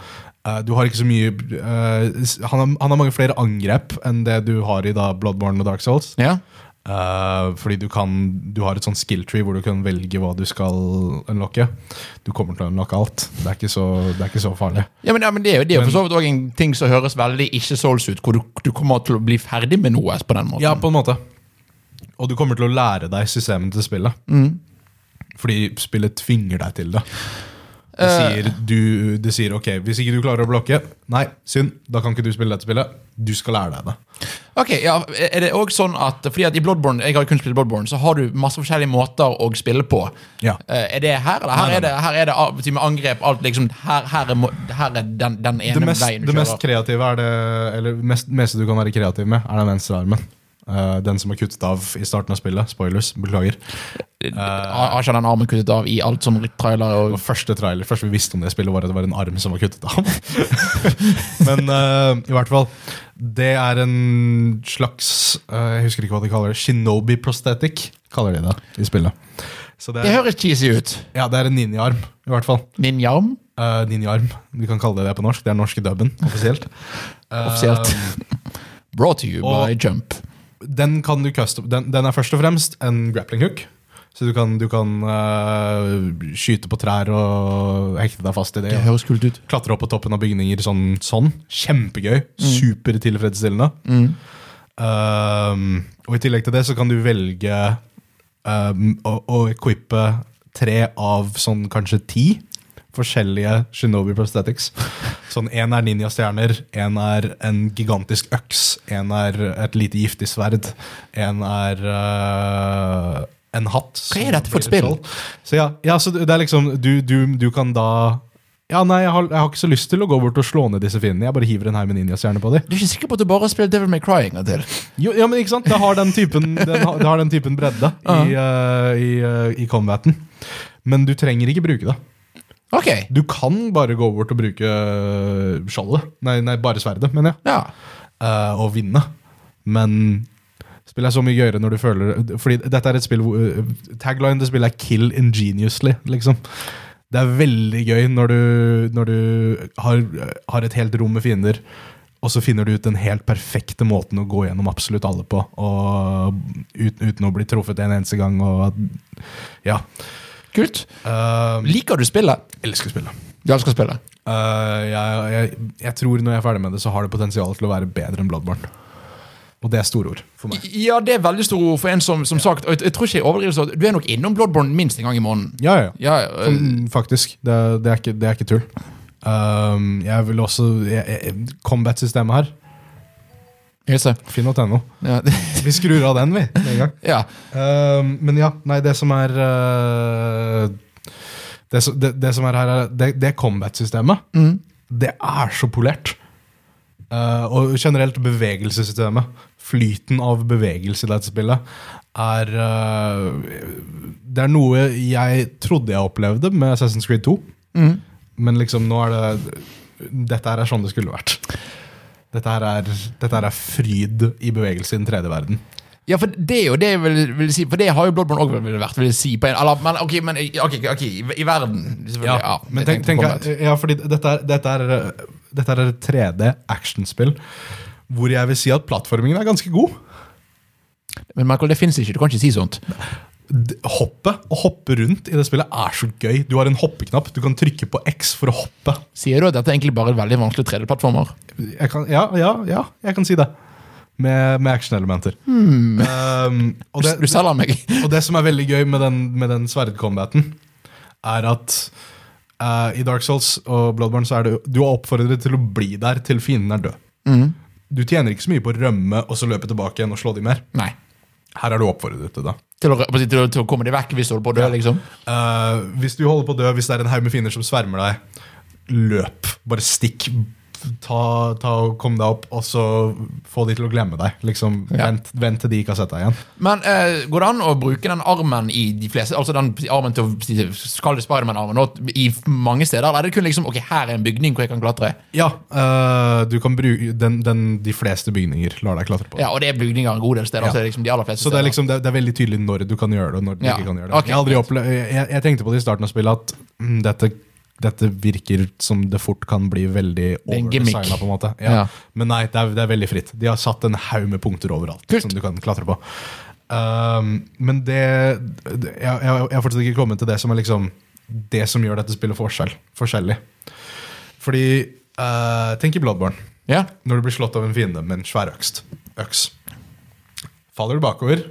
Eh, du har ikke så mye eh, s- han, har, han har mange flere angrep enn det du har i da Bloodborne og Dark Souls. Ja. Eh, fordi du kan Du har et sånn skill tree hvor du kan velge hva du skal unlocke. Du kommer til å unlocke alt. Det er ikke så, det er ikke så farlig. Ja, men, ja, men Det er jo det er jo for så vidt også en ting som høres veldig ikke souls ut, hvor du, du kommer til å bli ferdig med noe på den måten. Ja, på en måte. Og du kommer til å lære deg systemet til spillet. Fordi spillet tvinger deg til det. Det Eh. sier, du, det sier ok, hvis ikke du klarer å blokke, nei, synd, da kan ikke du spille dette spillet. Du skal lære deg det. Ok, ja, er det også sånn at, fordi at i Bloodborne, Jeg har kun spilt Bloodborne, så har du masse forskjellige måter å spille på. Ja. Eh, Er det her, eller? Her Nei, nei, er det, her er det av- type angrep, alt liksom Her, her, er, må- her er den, den ene Det mest, veien du det mest kjører. kreative er det Eller mest, meste du kan være kreativ med, er den venstre armen. Eh, den som er kuttet av i starten av spillet. Spoilers, beklager. Eh, Har har ikke den armen kuttet av i alt som trailer Og og første trailer, første vi visste om det spillet, var at det var en arm som var kuttet av. Men eh, i hvert fall, det er en slags eh, Jeg husker ikke hva de kaller det. Shinobi prosthetic, kaller de det i spillet. Så det Det er, høres cheesy ut. ja, det er en ninjaarm, i hvert fall. Ninjarm? Eh, ninjaarm. Vi kan kalle det det på norsk. Det er den norske dubben, offisielt. Eh, Offisielt. Brought to you og- by Jump. den, kan du custom, den, den er først og fremst en grappling hook. Så du kan, du kan eh, skyte på trær og hekte deg fast i det. Det høres kult ut. Klatre opp på toppen av bygninger sånn. sånn. Kjempegøy. Supertilfredsstillende. Mm. Um, og I tillegg til det så kan du velge um, å, å equippe tre av sånn kanskje ti forskjellige Shinobi prosthetics. Sånn Én er ninjastjerner, én er en gigantisk øks, én er et lite giftig sverd, én er uh, en hatt. Hva som er dette for et blir spill? skjold. Så ja, ja, så det er liksom Du, du, du kan da ja, nei, jeg har, jeg har ikke så lyst til å gå bort og slå ned disse fiendene. Jeg bare hiver en haug med ninjastjerner på dem. Du er ikke sikker på at du bare har spilt Devil May Cry en gang til? Jo, ja, men ikke sant? Det har den typen, den har, det har den typen bredde i, eh, i, eh, i combaten. Men du trenger ikke bruke det. Ok. Du kan bare gå bort og bruke eh, skjoldet. Nei, nei bare sverdet, mener jeg. Ja. Eh, og vinne. Men spillet er så mye gøyere når du føler Fordi dette er et spill hvor eh, Tagline til spillet er 'kill ingeniously', liksom. Det er veldig gøy når du, når du har, har et helt rom med fiender, og så finner du ut den helt perfekte måten å gå gjennom absolutt alle på, og uten, uten å bli truffet en eneste gang. Og at, ja. Kult. Eh, Liker du spillet? elsker spillet. Du elsker spillet. Eh, jeg, jeg, jeg tror når jeg er ferdig med det, så har det potensial til å være bedre enn Bloodborne. Og det er store ord for meg. Ja, det er veldig store ord for en som, som sagt, og jeg, jeg tror ikke jeg overdriver så Du er nok innom Bloodborne minst en gang i måneden. Ja, ja, ja. Ja, ja, øh, Sånn, faktisk. Det, er- det, er ikke, det er ikke tull. Ehm, jeg vil også jeg- jeg- Combat-systemet her, hilse. finn.no. Ja. Vi skrur av den, vi. Med en gang. ja. Ehm, men ja, nei, det som er eh, det, som- det, det som er her, er det, det combat-systemet. Mm. Det er så polert. Eh, og generelt bevegelsessystemet. Flyten av bevegelse i dette spillet er eh, Det er noe jeg trodde jeg opplevde med Assassin's Creed 2. Mm. Men liksom, nå er det Dette her er sånn det skulle vært. Dette her er, dette her er fryd i bevegelse i den tredje verden. Ja, for det er jo det jeg vil, vil si, for det har jo Bloodborne òg vært, vil jeg si. på en, eller, men ok, men, ok, ok, i, i verden, selvfølgelig. Ja, men jeg tenk, tenkte på tenk, Combat. ja, fordi dette er, dette er, eh, dette er et 3D-actionspill hvor jeg vil si at plattformingen er ganske god. Men Michael, det fins ikke. Du kan ikke si sånt. D- Hoppet, Å hoppe rundt i det spillet er så gøy. Du har en hoppeknapp. Du kan trykke på X for å hoppe. Sier du at dette er egentlig bare er veldig vanskelig 3D-plattformer? jeg kan, ja, ja, ja, jeg kan si det. Med, med actionelementer. Hmm. Um, og, Du, du det, selger meg. og det som er veldig gøy med den, med den sverdcombaten, er at eh, i Dark Souls og Bloodborne så er du, du er oppfordret til å bli der til fienden er død. Du tjener ikke så mye på å rømme og så løpe tilbake igjen og slå dem mer. Nei. Her er du oppfordret til det. Til å, til, å, til å komme deg vekk hvis du holder på å dø, liksom? Eh, hvis du holder på å dø, hvis det er en haug med fiender som svermer deg, løp. Bare stikk. Ta, ta og Kom deg opp, og så få de til å glemme deg. Liksom, Ja. vent, vent til de ikke har sett deg igjen. Men eh, går det an å bruke den armen i de fleste Altså den armen til å Skal det Spiderman-armen nå, i mange steder? Eller er det kun liksom Ok, her er en bygning hvor jeg kan klatre? Ja, eh, du kan bruke den, den, De fleste bygninger lar deg klatre på. Ja, Og det er bygninger en god del steder. Så det er liksom de aller fleste Så det er, steder. liksom, det, er- det er veldig tydelig når du kan gjøre det, og når du Ja. ikke kan gjøre det. Ok. Jeg, har aldri opple- jeg, jeg tenkte på det i starten av spillet, at mm, dette, dette virker som det fort kan bli veldig er en gimmick. overdesigna. på en måte. Ja. Ja. Men nei, det er, det er veldig fritt. De har satt en haug med punkter overalt Kult. som du kan klatre på. Um, men det, det jeg, jeg, jeg har fortsatt ikke kommet til det som er liksom det som gjør dette spillet forskjell, forskjellig. Fordi eh, Tenk i Bloodborne Ja. når du blir slått av en fiende med en svær øks. øks. Faller du bakover,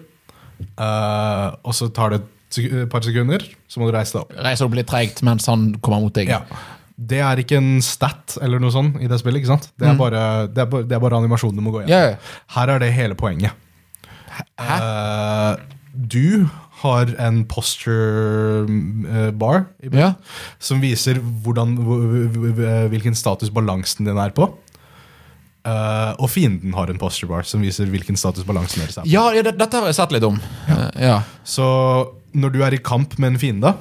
eh, og så tar det et sek- et par sekunder, så må du reise deg opp. Reiser opp litt treigt mens han kommer mot deg. Ja. Det er ikke en stat eller noe sånt i det spillet. ikke sant? Det er bare, det er bare, det er bare animasjonen du må gå gjennom. Mm. Ja, ja. Her er det hele poenget. Hæ? Eh, du har en posture eh, bar i Ja. som viser hvordan, hv- hv- hv- hvilken status balansen din er på. Eh, og fienden har en posture bar som viser hvilken status balansen deres er. på. Ja, ja, det, dette har jeg sett litt om. Eh, Ja. Så når du er i kamp med en fiende,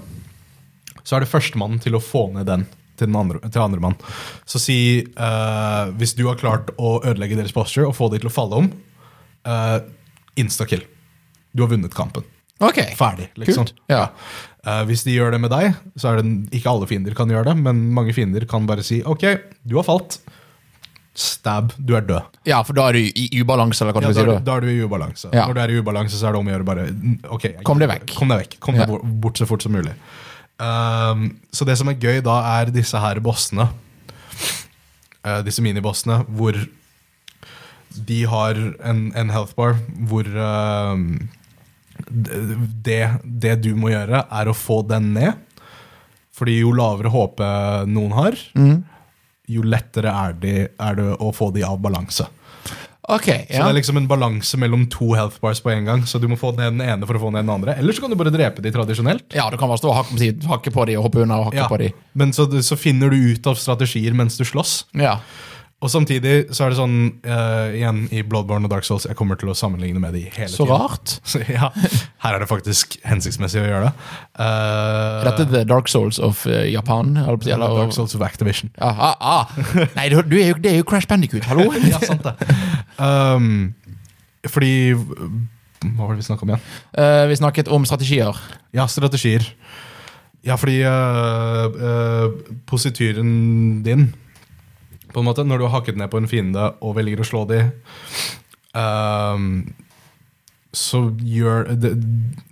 så er det førstemann til å få ned den til den andre, til andre mann. Så si eh, hvis du har klart å ødelegge deres posture og få de til å falle om, uh, instakill. eh, Du har vunnet kampen. Ok. Ferdig, liksom. Kult. Ja. Eh, hvis de gjør det med deg, så er det n- ikke alle fiender kan gjøre det, men mange fiender kan bare si OK, du har falt. Stab, du er død. ja, for da er du i ubalanse, eller hva Ja, du da, sier da. er, da er du i ubalanse. Ja. Når du er i ubalanse, så er det om å gjøre bare mm, ok, jeg- Kom deg vekk. Kom deg vekk. Kom Ja. deg bort, bort så fort som mulig. Ehm, så det som er gøy da, er disse her bossene. Eh, disse minibossene hvor de har en, en health bar hvor ehm, d- det, det du må gjøre, er å få den ned. Fordi jo lavere HP noen har, Mm. jo lettere er, de, er det å få de av balanse. Ok, Så ja. det er liksom en balanse mellom to health bars på en gang. Så du må få ned den ene for å få ned den andre. Eller så kan du bare drepe de tradisjonelt. ja, du kan bare stå og hakke, si- hakke på de og hoppe unna og hakke Ja. på de. Men så, så finner du ut av strategier mens du slåss. Ja. Og samtidig så er det sånn eh, igjen i Bloodborne og Dark Souls Jeg kommer til å sammenligne med de hele Så tiden. rart. Så ja, her er det faktisk hensiktsmessig å gjøre det. Er dette The Dark Souls of eh, Japan? Eller, Eh, eller, Dark Souls of Activision. Ja, ah, ah. Nei, du, du er jo, det er jo Crash Bandicoot, hallo? ja, sant det. Um, fordi Hva var det vi snakka om igjen? Eh, vi snakket om strategier. Ja, strategier. Ja, fordi øh, øh, posityren din På en måte, når du har hakket ned på en fiende og velger å slå de øhm, Så gjør det,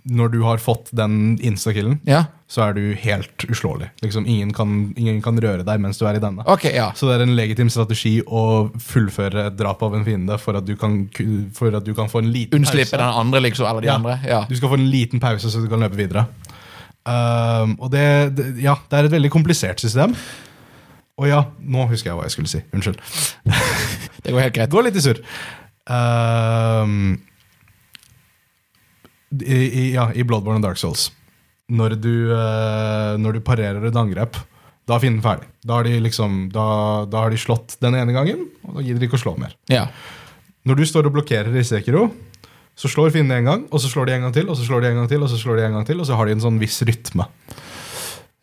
Når du har fått den instakillen, Ja, så er du helt uslåelig. Liksom, ingen, kan, ingen kan røre deg mens du er i denne. ok, ja. Så det er en legitim strategi å fullføre et drap av en fiende for at du kan, ku- for at du kan få en liten Unnslippe den andre, liksom, eller de Ja. andre. Ja. du skal få en liten pause, så du kan løpe videre. Ehm, og det, det, ja, det er et veldig komplisert system. Og ja, nå husker jeg hva jeg skulle si. Unnskyld. Det går helt Jeg greit. går litt i surr. Ehm, i, i, ja, I Bloodborne og Dark Souls, når du, eh, når du parerer et angrep, da er fienden ferdig. Da har de, liksom, da, da har de slått den ene gangen, og da gidder de ikke å slå mer. Ja. Når du står og blokkerer i Sekiro, så slår fienden en gang, og så slår de en gang til, og så slår de en gang til, og så slår de en gang til, og så har de en sånn viss rytme.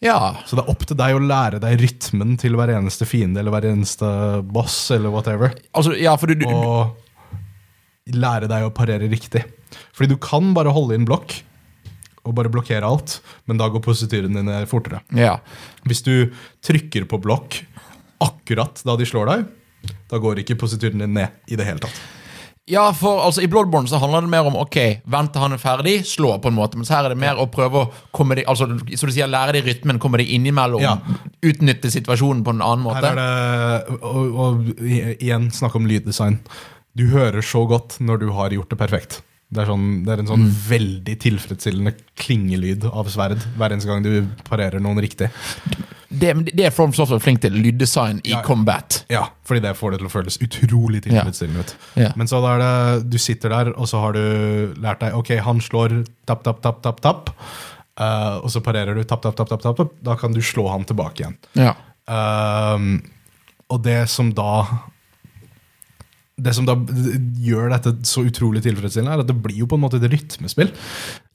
ja. Så det er opp til deg å lære deg rytmen til hver eneste fiende eller hver eneste boss eller whatever, Altså, ja, for du, du og lære deg å parere riktig. Fordi du kan bare holde inn blokk og bare blokkere alt, men da går posityren din ned fortere. Ja. Hvis du trykker på blokk akkurat da de slår deg, da går ikke posityren din ned i det hele tatt. ja, for altså, i Bloodborne så handler det mer om ok, vent til han er ferdig, slå på en måte. Mens her er det mer å prøve å komme de, altså, så du sier, lære de rytmen, komme de innimellom. Ja. Utnytte situasjonen på en annen Her er måte. det, og, og i- igjen, snakk om lyddesign. Du hører så godt når du har gjort det perfekt. Det er, sånn, det er en sånn veldig tilfredsstillende klingelyd av sverd hver eneste gang du parerer noen riktig. Det, men det er From Software flink til. Lyddesign i Ja. combat. Ja, Fordi det får det til å føles utrolig tilfredsstillende ut. Ja. Men så da er det, du sitter der, og så har du lært deg Ok, han slår tapp, tapp, tapp, tapp, tapp. Eh, og så parerer du tapp, tapp, tapp, tapp, tapp, tapp. Da kan du slå han tilbake igjen. Ja. Ehm, og det som da Det som da gjør dette så utrolig tilfredsstillende, er at det blir jo på en måte et rytmespill.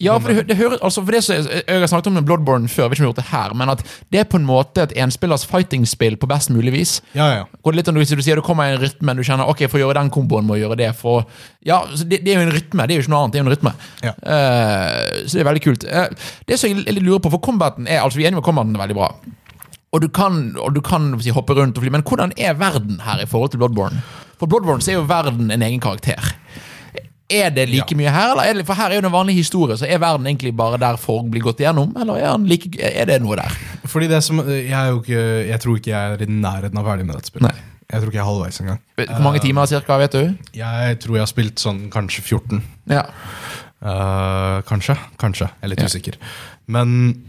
Ja, for det, hø- det høres altså for det som jeg, jeg har snakket om Bloodborne før, jeg vet ikke om jeg har gjort det her, men at det er på en måte et enspillers fighting-spill på best mulig vis. Ja, ja, ja. Går det litt om du, du sier du kommer i en rytme, du kjenner ok, for å gjøre den komboen må jeg gjøre det for å- Ja, så det, det er jo en rytme, det er jo ikke noe annet, det er jo en rytme. Ja. Eh, så det er veldig kult. Eh, det som jeg l- lurer på, for combaten er altså, vi er enige om at combaten er veldig bra. Og du kan, og du kan hva skal jeg si, hoppe rundt og fly, men hvordan er verden her i forhold til Bloodborne? For Bloodborne så er jo verden en egen karakter. Er det like Ja. mye her, eller? Er det, for her er jo den vanlige historie, så er verden egentlig bare der folk blir gått igjennom, eller er, han like, er det noe der? Fordi det som eh, Jeg, er jo ikke, jeg tror ikke jeg er i nærheten av ferdig med dette spillet. Nei. Jeg tror ikke jeg er halvveis engang. Hvor Eh. mange timer cirka, vet du? Jeg tror jeg har spilt sånn kanskje 14. Ja. Eh, kanskje. Kanskje. Jeg er litt Ja. usikker. Men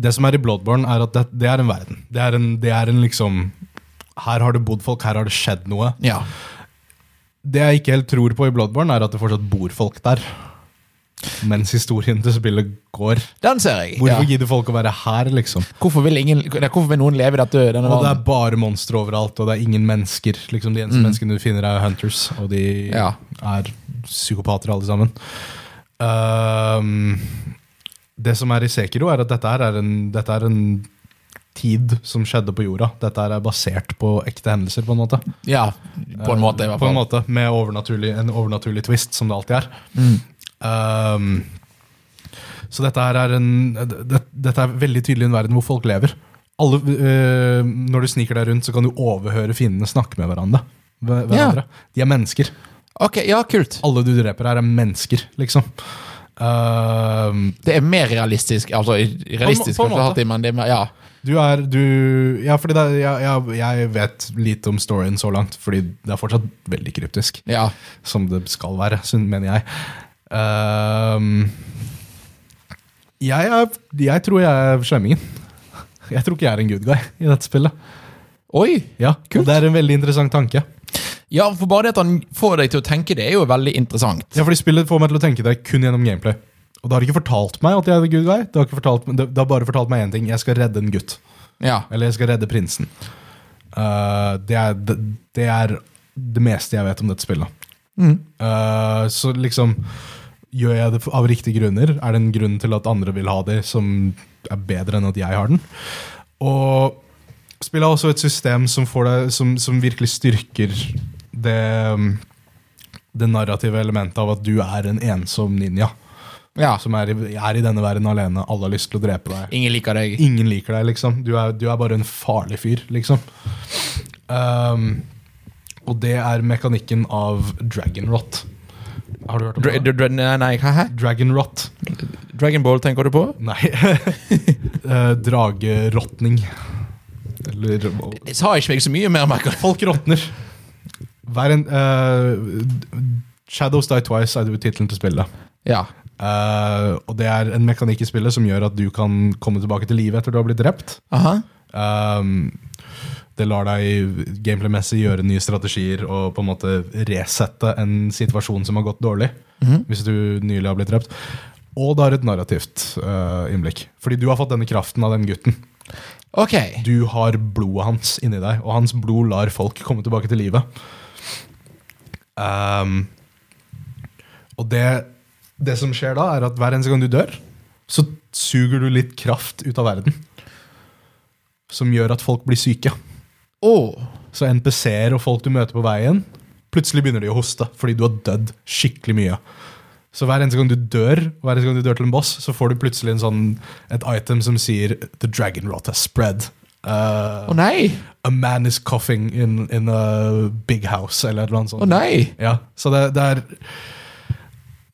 det som er i Bloodborne, er at det, det er en verden. Det er en, det er en liksom Her har det bodd folk, her har det skjedd noe. ja. Det jeg ikke helt tror på i Bloodborne, er at det fortsatt bor folk der. Mens historien til spillet går. Den ser jeg. Hvorfor ja. gidder folk å være her, liksom? Hvorfor vil, ingen, nei, hvorfor vil noen leve i dette, denne Og det er verden? bare monstre overalt, og det er ingen mennesker. Liksom De eneste menneskene du finner, er Hunters, og de Mm. Ja. er psykopater alle sammen. Ehm, det som er i Sekiro, er at dette her er en, dette er en tid som skjedde på jorda. Dette her er basert på ekte hendelser, på en måte. Ja, på en måte i hvert På fall. en Mm. måte, Med overnaturlig, en overnaturlig twist, som det alltid er. Um, Så dette her er en det, Dette er veldig tydelig en verden hvor folk lever. Alle, eh, når du sniker deg rundt, så kan du overhøre fiendene snakke med hverandre. hver- hverandre. De er mennesker. Ok, ja, kult. Alle du dreper her, er mennesker, liksom. Eh, Det er mer realistisk. Altså, i- realistisk på en kanskje måte. alltid, men det er mer, ja. du er du, Ja, fordi det, er- jeg, jeg, jeg vet lite om storyen så langt, fordi det er fortsatt veldig kryptisk. ja. Som det skal være, syn- mener jeg. Ehm, jeg, er, jeg tror jeg er slemmingen. Jeg tror ikke jeg er en good guy i dette spillet. Oi! Ja, og Det er en veldig interessant tanke. Ja, for bare det at han får deg til å tenke, det er jo veldig interessant. Ja, fordi Spillet får meg til å tenke det kun gjennom gameplay. Og det har ikke fortalt meg at jeg er the good guy. Det har, ikke fortalt, det, det har bare fortalt meg én ting. Jeg skal redde en gutt. Ja. Eller jeg skal redde prinsen. Eh, det, er, det, det er det meste jeg vet om dette spillet. Mm. Eh, så liksom Gjør jeg det av riktige grunner? Er det en grunn til at andre vil ha det, som er bedre enn at jeg har den? Og spillet har også et system som, får deg, som, som virkelig styrker det, mm, det narrative elementet av at du er en ensom ninja. ja. Som er i, er i denne verden alene. Alle har lyst til å drepe deg. Ingen liker deg. Ingen liker deg, liksom. Du er, du er bare en farlig fyr, liksom. Ehm, og det er mekanikken av dragon rot. Har du hørt om Dra det? dra dra- nei, nei, hæ? hæ? Dragon rot. Dragon Ball tenker du på? Nei. Eh, Dragerotning. Eller Det sa ikke meg så mye mer, Michael. Folk råtner. Hver en eh, Shadows Die Twice er jo tittelen til spillet. Ja. Eh, og det er en mekanikk i spillet som gjør at du kan komme tilbake til livet etter du har blitt drept. Aha. Um, det lar deg gameplay-messig gjøre nye strategier og på en måte resette en situasjon som har gått dårlig, hvis du nylig har blitt drept. Og det har et narrativt uh, innblikk. Fordi du har fått denne kraften av den gutten. Ok. Du har blodet hans inni deg, og hans blod lar folk komme tilbake til livet. Um, og det, det som skjer da, er at hver eneste gang du dør, så suger du litt kraft ut av verden. Som gjør at folk blir syke. Å. Så NPC-er og folk du møter på veien, plutselig begynner de å hoste fordi du har dødd skikkelig mye. Så hver eneste gang du dør hver eneste gang du dør til en boss, så får du plutselig en sånn, et item som sier 'The dragon rot has spread'. Eh, Å nei! A man is coughing in, in a big house, eller et eller annet sånt. Å nei! Ja, så det, det er,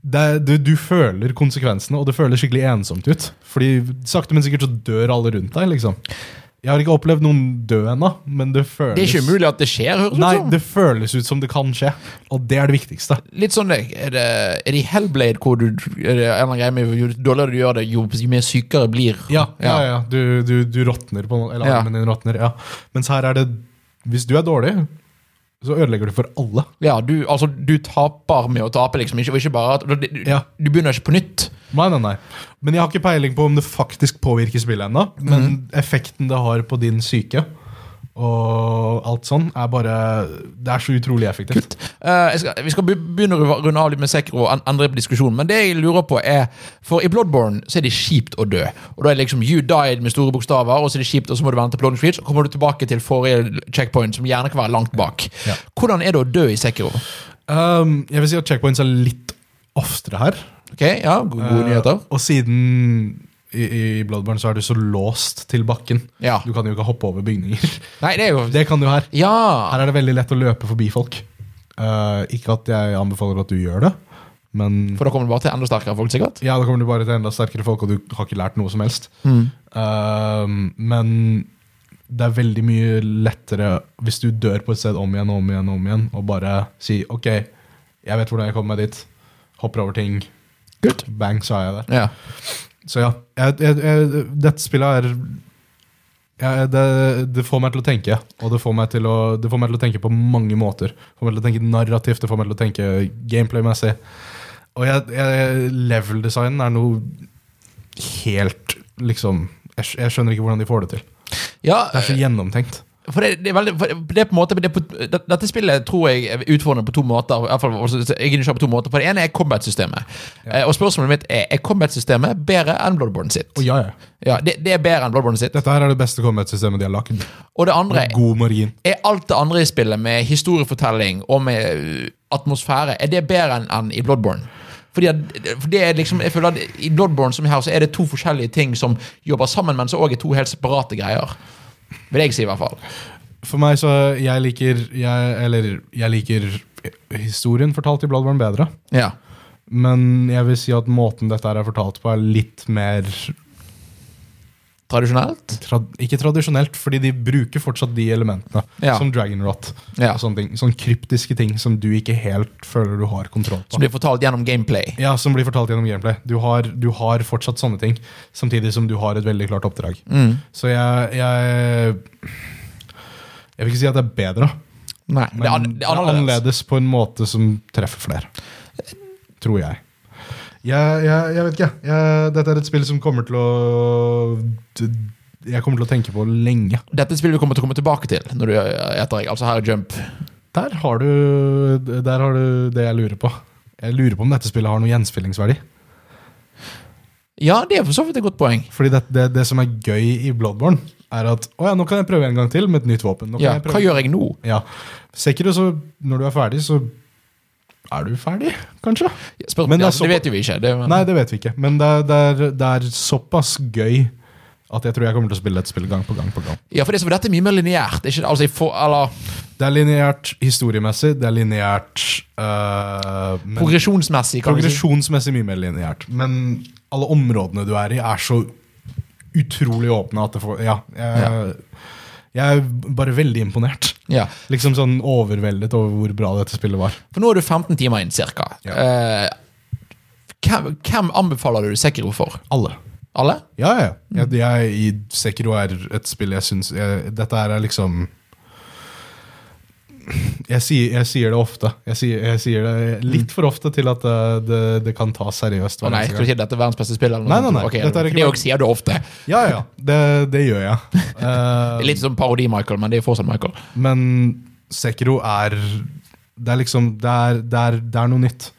det er du, du føler konsekvensene, og det føles skikkelig ensomt ut. Fordi sakte, men sikkert så dør alle rundt deg, liksom. Jeg har ikke opplevd noen dø ennå, men det føles Det er ikke umulig at det skjer, høres Nei, det ut som. det føles ut som det kan skje, og det er det viktigste. Litt sånn det, er det, er det i Hellblade hvor du er det en eller annen greie med Jo dårligere du gjør det, jo mer sykere blir Ja, ja, ja. Du, du, du råtner på noe, eller Ja. armen din råtner. Ja. Mens her er det Hvis du er dårlig, så ødelegger du for alle. Ja, du, altså, du taper med å tape, liksom. Ikke, og ikke bare at, du, du, Ja. du begynner ikke på nytt. Nei, nei, nei. Men jeg har ikke peiling på om det faktisk påvirker spillet ennå. Men Mhm. effekten det har på din syke og alt sånn, er bare Det er så utrolig Kult. effektivt. Eh, jeg skal, vi skal be- begynne å ru- runde av litt med Sekro og en- endre på diskusjonen, men det jeg lurer på er For i Bloodborne så er det kjipt å dø. Og da er det liksom You died med store bokstaver, og så er det kjipt, og så må du vente til Bloodborne Streets, og kommer du tilbake til forrige checkpoint, som gjerne kan være langt bak. Ja. Hvordan er det å dø i Sekro? Um, jeg vil si at checkpoints er litt oftere her. Ok, ja, go- Gode Eh, nyheter. Og siden i, i Bloodborne så er du så låst til bakken. Ja. Du kan jo ikke hoppe over bygninger. Nei, det er jo Det kan du her. Ja! Her er det veldig lett å løpe forbi folk. Eh, ikke at jeg anbefaler at du gjør det, men For da kommer det bare til enda sterkere folk, sikkert? Ja, da kommer du bare til enda sterkere folk, og du har ikke lært noe som helst. Ehm, men det er veldig mye lettere hvis du dør på et sted om igjen og om igjen, og om igjen, og bare si OK, jeg vet hvordan jeg kommer meg dit. Hopper over ting. Good. Bang, så er jeg der. Ja. Så ja, jeg, jeg, jeg, dette spillet er jeg, det, det får meg til å tenke, og det får, meg til å, det får meg til å tenke på mange måter. Det får meg til å tenke narrativt, det får meg til å tenke gameplay-messig. Og jeg, jeg, level-designen er noe helt liksom jeg, skj- jeg skjønner ikke hvordan de får det til. ja Det er så gjennomtenkt. For det, det er veldig, for det er på en måte det er på, det, Dette spillet tror jeg er utfordrende på to måter. I hvert fall, også- jeg er nysgjerrig på to måter For Det ene er combat-systemet. Eh, Og spørsmålet mitt er er combat-systemet bedre enn Bloodborne sitt. Og ja, ja. Ja, det, det er bedre enn Bloodborne sitt. Dette her er det beste combat-systemet de har lagd. Og det andre God margin. er alt det andre i øh, spillet, med historiefortelling og med uh, atmosfære, er det bedre enn enn i Bloodborne? Fordi at, for det er liksom, jeg føler at I Bloodborne som her, så er det to forskjellige ting som jobber sammen, men som òg er to helt separate greier. Vil jeg si, i hvert fall. For meg så Jeg liker jeg, Eller jeg liker historien fortalt i Bloodborne bedre. Ja. Men jeg vil si at måten dette her er fortalt på, er litt mer Tradisjonelt? trad Ikke tradisjonelt, fordi de bruker fortsatt de elementene. Ja. Som dragon rot. Ja. Og sånne, ting, sånne kryptiske ting som du ikke helt føler du har kontroll på. Som blir fortalt gjennom gameplay. ja, som blir fortalt gjennom gameplay. Du har, du har fortsatt sånne ting, samtidig som du har et veldig klart oppdrag. Mm. Så jeg, jeg Jeg vil ikke si at det er bedre, Nei, men det er, an det er annerledes. på en måte som treffer flere. Tror jeg. Jeg, jeg, jeg vet ikke. Jeg, dette er et spill som kommer til å Jeg kommer til å tenke på lenge. Dette spillet vi kommer til å komme tilbake til når du gjør etter jeg. Altså her er Jump. Der har, du, der har du det jeg lurer på. Jeg lurer på om dette spillet har noen gjenspillingsverdi. Ja, det er for så vidt et godt poeng. Fordi det, det, det som er gøy i Bloodborne, er at å ja, nå kan jeg prøve en gang til med et nytt våpen. Nå kan Ja, jeg hva prøve. gjør jeg nå? Ja. Sekiro, så når du er ferdig, så er du ferdig, kanskje? Spør, Men ja, det er så- det vet jo vi ikke. Det, men, Nei, det vet vi ikke. Men det, er- det, er, det er såpass gøy at jeg tror jeg kommer til å spille dette spillet gang på gang. på gang. ja, for det, er så- dette er mye mer lineært. Ikke, altså, i for, eller Det er lineært historiemessig, det er lineært øh, men- progresjonsmessig, kan vi si. Progresjonsmessig mye mer lineært. Men alle områdene du er i, er så utrolig åpne at det får Ja. Jeg, jeg er bare veldig imponert. Ja. Liksom sånn overveldet over hvor bra dette spillet var. For nå er du 15 timer inn, cirka. Ja. Eh, hvem, hvem anbefaler du Sekiro for? Alle. Alle? Ja, ja. Mm. ja. Jeg, jeg i Sekiro er et spill jeg syns Dette her er liksom jeg sier, jeg sier det ofte. Jeg sier, jeg sier det litt for ofte til at det, det, det kan tas seriøst. Mm. Å hver nei, eneste skal du si at dette er verdens beste spill? Eller noe Nei, nei, sånt? nei. Ok, Dette er for ikke det bare- også sier du ofte. gang. Ja, ja. Det, det gjør jeg. Eh, Det er Litt som parodi-Michael, men det er fortsatt Michael. Men Sekiro er Det er liksom det er, det, er, det er noe nytt.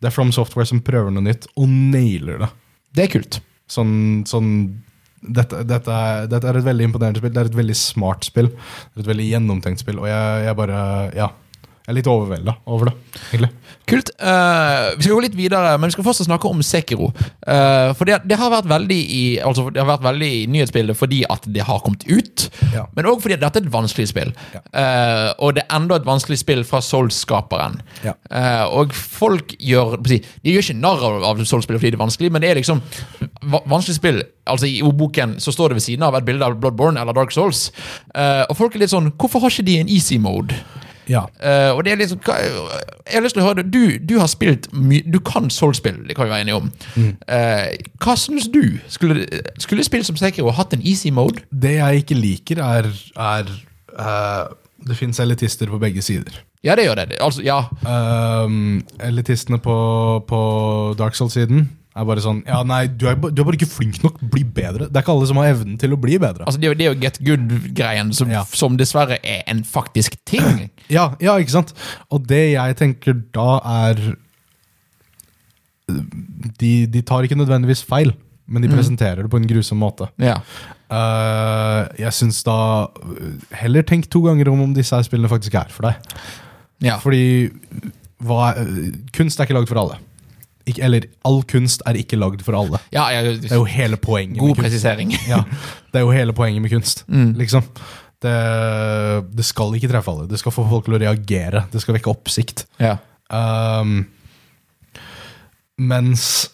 Det er From Software som prøver noe nytt, og nailer det. Det er kult. Sånn, sånn dette, dette, er, dette er et veldig imponerende spill. Det er et veldig smart spill. Det er Et veldig gjennomtenkt spill. Og jeg, jeg bare Ja. Jeg er litt overvelda over det, egentlig. Kult. Eh, vi skal gå litt videre, men vi skal fortsatt snakke om Sekiro. Eh, for det, det har vært veldig i Altså, det har vært veldig i nyhetsbildet fordi at det har kommet ut, Ja. men òg fordi at dette er et vanskelig spill. Ja. Eh, og det er enda et vanskelig spill fra Souls-skaperen. Ja. Eh, og folk gjør hva skal jeg si, De gjør ikke narr av- av Souls-spillet fordi det er vanskelig, men det er liksom va- vanskelig spill. Altså I ordboken så står det ved siden av et bilde av Bloodborne eller Dark Souls. Eh, og folk er litt sånn Hvorfor har ikke de en easy mode? Ja. Eh, og det er liksom hva- Jeg har lyst til å høre det. Du, du har spilt mye Du kan Soul-spill, det kan vi være enige om. Mm. Eh, hva syns du? Skulle, skulle spill som Sekiro hatt en easy mode? Det jeg ikke liker, er, er eh, Det fins elitister på begge sider. Ja, det gjør det. det. Altså, ja. Ehm, elitistene på, på Dark Souls-siden er bare sånn Ja, nei, du er, ba- du er bare ikke flink nok. Bli bedre. Det er ikke alle som har evnen til å bli bedre. Altså, det er jo- det er jo get good-greien, som, Ja. som dessverre er en faktisk ting. Ja, ja, ikke sant? Og det jeg tenker da er De, de tar ikke nødvendigvis feil, men de presenterer det på en grusom måte. Mhm. Ja. Eh, jeg syns da Heller tenk to ganger om om disse her spillene faktisk er for deg. ja. Fordi hva, er- kunst er ikke lagd for alle. Ikke, eller all kunst er ikke lagd for alle. ja, ja Det er jo hele poenget god med kunst. presisering. Ja, det er jo hele poenget med kunst. Liksom. Det, det skal ikke treffe alle. Det skal få folk til å reagere. Det skal vekke oppsikt. Ja. Um, mens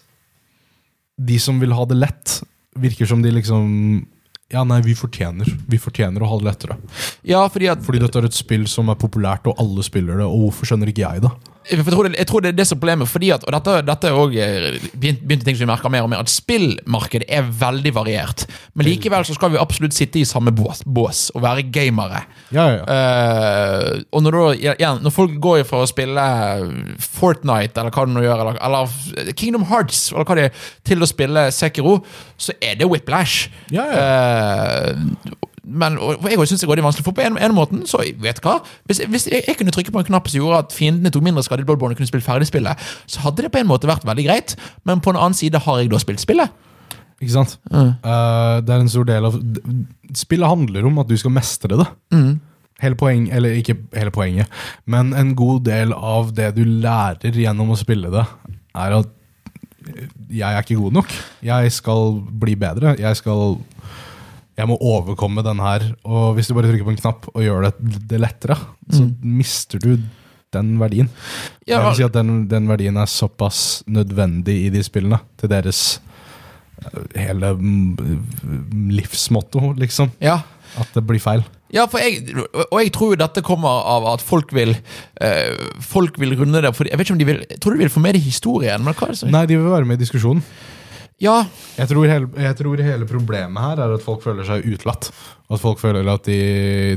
de som vil ha det lett, virker som de liksom Ja, nei, vi fortjener Vi fortjener å ha det lettere. ja, fordi at Fordi dette er et spill som er populært, og alle spiller det. Og hvorfor skjønner ikke jeg det? Jeg tror det, jeg tror det er det som er problemet, fordi at, og dette, dette er også eh, begynt- begynte ting som vi merker mer og mer, at spillmarkedet er veldig variert. Men likevel så skal vi absolutt sitte i samme bås, bås og være gamere. Ja, ja, ja. Eh, og når, da, igjen, når folk går fra å spille Fortnite eller hva det nå gjør, eller, eller Kingdom Hearts eller hva det er, til å spille Sekiro, så er det whiplash. Ja, Eh, men og, og jeg synes det går litt vanskelig, for på en, en måten, så vet du hva Hvis, hvis jeg, jeg kunne trykke på en knapp som gjorde at fiendene tok mindre skade i Bloodborne og kunne spille ferdig spillet, så hadde det på en måte vært veldig greit, men på en annen side har jeg da spilt spillet. Ikke sant? Eh, det er en stor del av d- Spillet handler om at du skal mestre det. Hele poeng, eller ikke hele poenget, men en god del av det du lærer gjennom å spille det, er at eh, jeg er ikke god nok. Jeg skal bli bedre. Jeg skal jeg må overkomme den her. Og hvis du bare trykker på en knapp og gjør det, det lettere, så mister du den verdien. Ja, jeg vil si at den, den verdien er såpass nødvendig i de spillene, til deres eh, hele mm, livsmotto, liksom, ja. at det blir feil. Ja, for jeg, og jeg tror dette kommer av at folk vil eh, Folk vil runde det. For jeg vet ikke om de vil Jeg tror de vil få med det i historien. Men hva er det som Nei, de vil være med i diskusjonen. Ja, Jeg tror, hele, jeg tror hele problemet her er at folk føler seg utelatt. At folk føler at de,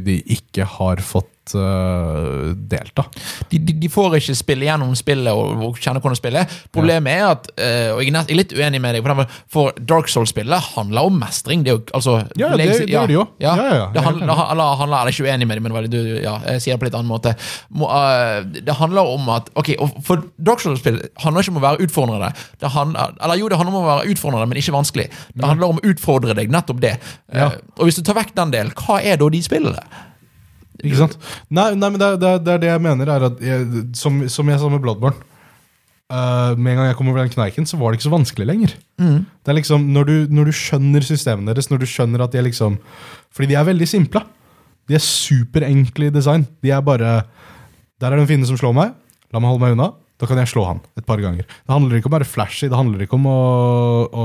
de ikke har fått øh, delta. de, de, de får ikke spille gjennom spillet og, og kjenne hvordan spillet er. Problemet er at eh, Og jeg er, nest, jeg er litt uenig med deg, for, eksempel, for Dark Souls-spillet handler om mestring. Det er jo altså Ja, det- det gjør det jo. Ja, Ja, ja, ja. Det handler, eller handler Eller ikke uenig med deg, men veldig- du, ja, jeg sier det på litt annen måte. Må, eh, det handler om at Ok, og for Dark Souls-spill handler ikke om å være utfordrende. Det handler, eller jo, det handler om å være utfordrende, men ikke vanskelig. Det handler om å utfordre deg, nettopp det. Eh, Ja. og hvis du tar vekk den delen, hva er da de spillene? Ikke sant? Nei, nei men det, er- det, er- det er det jeg mener, er at jeg, som, som jeg sa med Bloodborne øh, Med en gang jeg kom over den kneiken, så var det ikke så vanskelig lenger. Det er liksom, når du, når du skjønner systemene deres, når du skjønner at de er liksom Fordi de er veldig simple. De er superenkle i design. De er bare Der er det en fiende som slår meg. La meg holde meg unna. Da kan jeg slå han et par ganger. Det handler ikke om å være flashy, det handler ikke om å, å,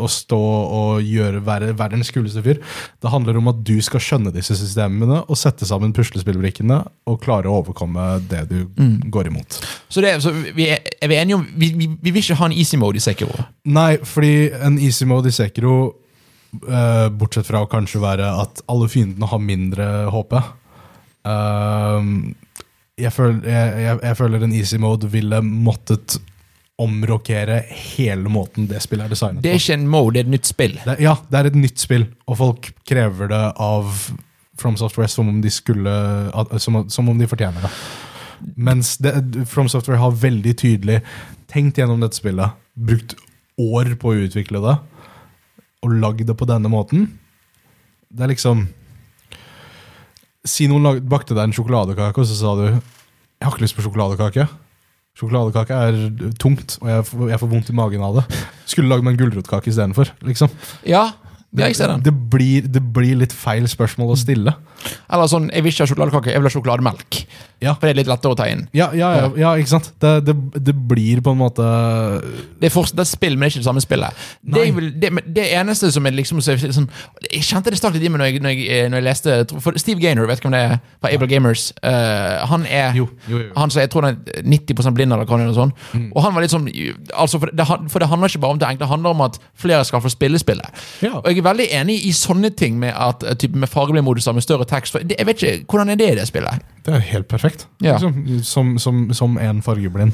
å stå og gjøre være verdens kuleste fyr. Det handler om at du skal skjønne disse systemene og sette sammen puslespillbrikkene og klare å overkomme det du går imot. Så, det, så vi er, er vi enige om vi, vi, vi vil ikke ha en easy mode i Sekiro. Nei, fordi en easy mode i Sekiro, eh, bortsett fra å kanskje være at alle fiendene har mindre HP Ehm, jeg, føler, jeg, jeg, jeg føler en easy mode ville måttet omrokere hele måten det spillet er designet Det er ikke en mode, det er et nytt spill. Det, ja, det er et nytt spill, og folk krever det av From Software som om de skulle at- Som, som om de fortjener det. Mens det, From Software har veldig tydelig tenkt gjennom dette spillet, brukt år på å utvikle det, og lagd det på denne måten. Det er liksom Si noen lag, bakte deg en sjokoladekake, og så sa du 'Jeg har ikke lyst på sjokoladekake'. Sjokoladekake er tungt, og jeg, får- jeg får vondt i magen av det. Skulle lage meg en gulrotkake istedenfor. Liksom. Ja, ja, jeg ser den. Det, blir, det blir litt feil spørsmål å stille. Eller sånn, jeg vil ikke ha sjokoladekake, jeg vil ha sjokolademelk. Ja. For det er litt lettere å ta inn. Ja, ja, ja, ja ikke sant? Det, det, det blir på en måte Det er, fortsatt- det er spill, men det er ikke det samme spillet. Det, Nei. er vel, det, men det eneste som er liksom så, sånn, Jeg kjente det stakk litt i meg når jeg, når jeg, eh, når jeg leste jeg tror- For Steve Gaynor, vet du hvem det er? Fra Able Gamers. eh, han er Jo, jo, jo. Han som jeg tror han er 90 blind eller hva det er, og sånn. Mm. Og han var litt sånn altså for, det, han- for det handler ikke bare om det enkle, det handler om at flere skal få spille spillet. Ja. Og jeg er veldig enig i sånne ting med at eh, typ med fargeblindmoduser med større tekst. For det, jeg vet ikke, Hvordan er det i det spillet? Det er helt perfekt. Ja. Mm. Liksom, som, som, som en fargeblind.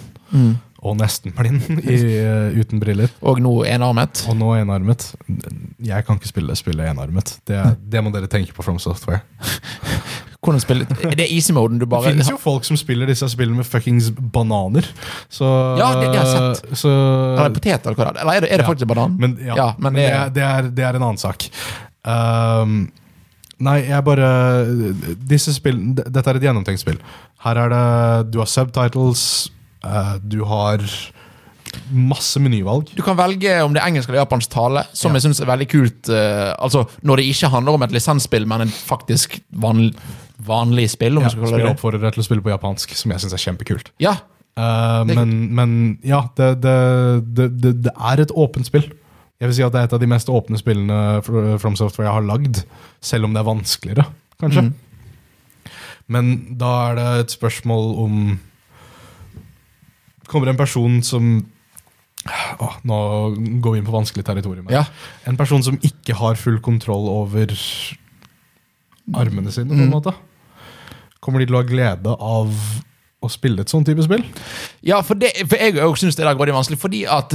Og nesten blind i, eh, uten briller. Og nå enarmet. Og nå enarmet. Jeg kan ikke spille spillet enarmet. Det, er- det må dere tenke på From Software. Hvordan spille Er det easy-moden du Det bare finnes jo folk som spiller disse spillene med fuckings bananer. Så, Ja, det- det har jeg Så, Eller er det potet, eller hva det er? Eller er det, er det Ja. faktisk banan? Men, ja, Ja, men men det- det, er- det, er, det er en annen sak. Ehm, nei, jeg bare disse spill, d- Dette er et gjennomtenkt spill. Her er det Du har subtitles, eh, du har masse menyvalg. Du kan velge om det er engelsk eller japansk tale, som Ja. jeg syns er veldig kult. eh, altså Når det ikke handler om et lisensspill, men en faktisk vanlig, vanlig spill. Om Ja, man skal kalle spillet det det. oppfordrer deg til å spille på japansk, som jeg syns er kjempekult. Ja, Eh, Det er men, men ja, det, det, det, det, det er et åpent spill. Jeg vil si at det er et av de mest åpne spillene Fr- From Software jeg har lagd. Selv om det er vanskeligere, kanskje. Mm. Men da er det et spørsmål om Kommer en person som Åh, Nå går vi inn på vanskelig territorium. her. ja. En person som ikke har full kontroll over armene sine, Mm. på en måte. Kommer de til å ha glede av å spille et sånn type spill? ja for, det, for jeg òg syns det der grådig vanskelig. Fordi at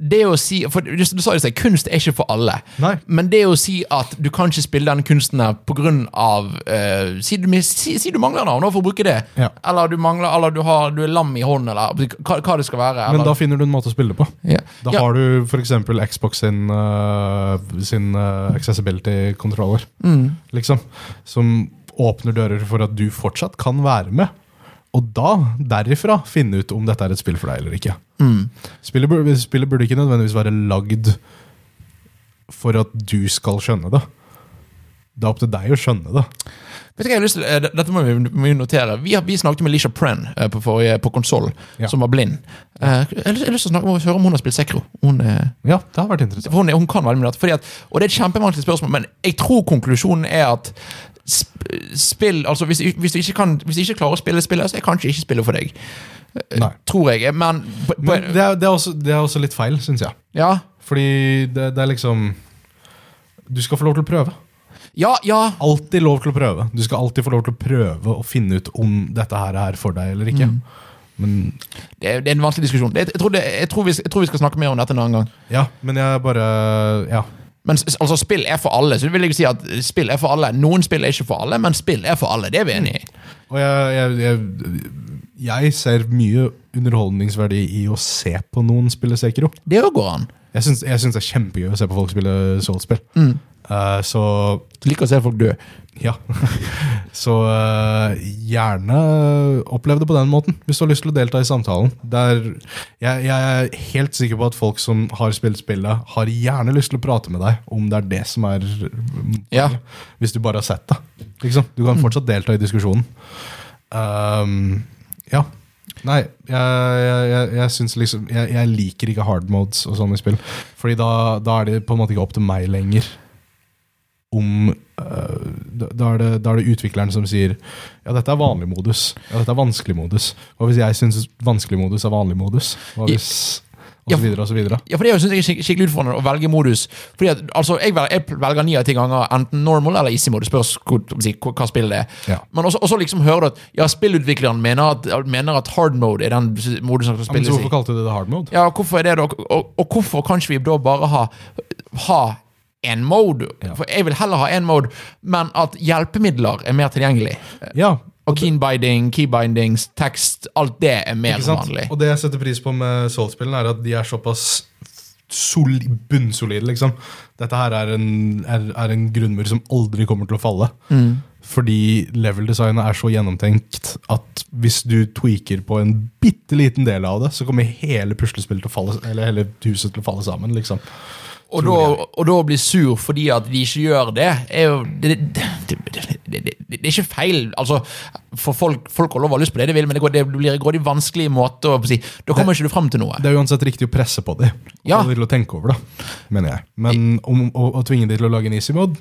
det å si for Du, du sa jo det, kunst er ikke for alle. Nei. Men det å si at du kan ikke spille denne kunsten her på grunn av eh, si, du, mis- si, si du mangler navn, da, for å bruke det. Ja. Eller du mangler Eller du, har, du er lam i hånden, eller hva, hva det skal være. Men da eller, finner du en måte å spille det på. ja. Da Ja. har du f.eks. Xbox sin, øh, sin øh, accessibility Mm. controller, liksom. Som åpner dører for at du fortsatt kan være med. Og da, derifra, finne ut om dette er et spill for deg eller ikke. Mm. Spillet burde, spillet burde ikke nødvendigvis være lagd for at du skal skjønne det. Det er opp til deg å skjønne det. Vet du hva jeg har lyst til? Eh, Dette må vi, må vi notere. Vi, har, vi snakket med Lisha Prenn eh, på, forrige- på konsoll, Ja. som var blind. Eh, jeg har lyst- jeg har lyst til å snakke om, høre om hun har spilt Sekro. Hun, eh, Ja, det har vært interessant. for hun, er- hun kan veldig mye om dette. Fordi at, og det er et kjempevanskelig spørsmål, men jeg tror konklusjonen er at sp spill, altså hvis, hvis, du ikke kan, hvis du ikke klarer å spille spillet, så er kanskje ikke spillet for deg. Eh, Nei. Tror jeg. Men, på, på, Men det er, det er, også, det er også litt feil, syns jeg. ja. Fordi det, det er liksom Du skal få lov til å prøve. Ja, ja. Alltid lov til å prøve. Du skal alltid få lov til å prøve å finne ut om dette her er for deg eller ikke. Men, Det er, det er en vanskelig diskusjon. Jeg, jeg, tror det, jeg, tror vi, jeg tror vi skal snakke mer om dette en annen gang. ja, men jeg bare Ja. Men s- altså, spill er for alle, så det vil jeg si at spill er for alle. Noen spill er ikke for alle, men spill er for alle. Det er vi enige i. Og jeg, jeg, jeg, jeg ser mye underholdningsverdi i å se på noen spille Sekiro. Det òg går an. Jeg syns, jeg syns det er kjempegøy å se på folk spille Souls-spill. Eh, så Mm. Du liker å se folk dø. ja. så eh, gjerne opplev det på den måten, hvis du har lyst til å delta i samtalen. Det er, jeg, jeg er helt sikker på at folk som har spilt spillet, har gjerne lyst til å prate med deg, om det er det som er Ja. Mm. Hvis du bare har sett det. Liksom. Du kan fortsatt delta i diskusjonen. Ehm, ja. Nei, jeg, jeg, jeg, jeg syns liksom jeg, jeg liker ikke hard modes og sånne spill. Fordi da, da er det på en måte ikke opp til meg lenger. Om eh, da, da er det, da er det utvikleren som sier Ja, dette er vanlig modus. Ja, dette er vanskelig modus. Hva hvis jeg syns vanskelig modus er vanlig modus? Hva Ja. hvis Og så videre og så videre. Ja, for det syns jeg er skik- skikkelig utfordrende å velge modus. Fordi at, altså, Jeg velger, jeg velger ni av ti ganger enten normal eller easy mode. Spørs hvor, si, hvor- hva spillet er. Ja. Men også, også liksom hører du at ja, spillutvikleren mener at, mener at hard mode er den modusen som skal Ja, men spilles så i. hvorfor kalte du det det hard mode? Ja, hvorfor er det da? Og, og hvorfor kan ikke vi da bare ha, ha en mode? Ja. For jeg vil heller ha en mode, men at hjelpemidler er mer tilgjengelig. Ja, Og keenbinding, keybindings, tekst, alt det er mer Ikke sant? vanlig. Og det jeg setter pris på med Soul-spillene, er at de er såpass soli bunnsolide, liksom. Dette her er en, er, er en grunnmur som aldri kommer til å falle. Mm. Fordi level-designet er så gjennomtenkt at hvis du tweaker på en bitte liten del av det, så kommer hele puslespillet til å falle, eller hele huset til å falle sammen, liksom. Og da, og da å bli sur fordi at de ikke gjør det, er jo Det, det, det, det, det, det, det er ikke feil. Altså, for folk, folk har lov å ha lyst på det de vil, men det, går, det blir en grådig vanskelig måte å si. Da kommer ikke du frem til noe. Det er uansett riktig å presse på dem. Ja. Og få dem til å tenke over det, mener jeg. Men om, å, å tvinge dem til å lage en easy mode?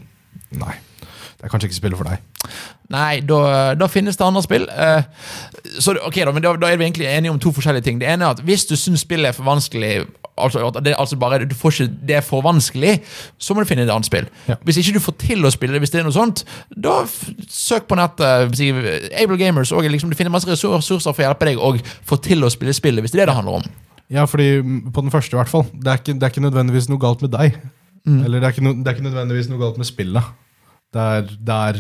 Nei. Det er kanskje ikke spillet for deg. Nei, da, da finnes det andre spill. Eh, så det- ok da, men da, da er vi egentlig enige om to forskjellige ting. Det ene er at hvis du syns spillet er for vanskelig, altså, at det, altså bare, du får ikke det er for vanskelig, så må du finne et annet spill. Ja. Hvis ikke du får til å spille det, hvis det er noe sånt, da f søk på nettet. Si, Able Gamers, og liksom, du finner masse ressurser for å hjelpe deg å få til å spille spillet, hvis det er det det handler om. Ja, fordi mm, på den første i hvert fall. Det er ikke, det er ikke nødvendigvis noe galt med deg. Eller det er, ikke no, det er ikke nødvendigvis noe galt med spillet. Det er, det er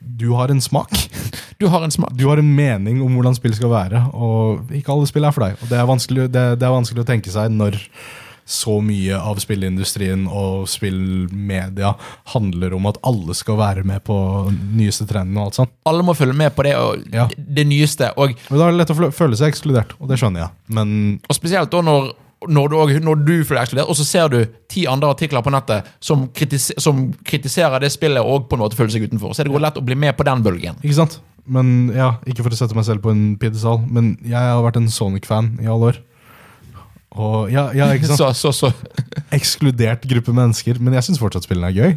Du har en smak. Du har en smak. Du har en mening om hvordan spill skal være, og ikke alle spill er for deg. Og det er vanskelig, det, det er vanskelig å tenke seg når så mye av spillindustrien og spillmedia handler om at alle skal være med på nyeste trenden og alt sånt. Alle må følge med på det, og Ja. det, det nyeste. Og Men da er det lett å flø- føle seg ekskludert, og det skjønner jeg. Men Og spesielt da når, når, du, også- når du føler deg ekskludert, og så ser du ti andre artikler på nettet som, kritis som kritiserer det spillet og på en måte føler seg utenfor. Så det går lett å bli med på den bølgen. Ikke sant? Men ja, Ikke for å sette meg selv på en pidesal, men jeg har vært en Sonic-fan i alle år. Og ja, ja, ikke sant? Så, så, så. Ekskludert gruppe mennesker, men jeg syns fortsatt spillene er gøy.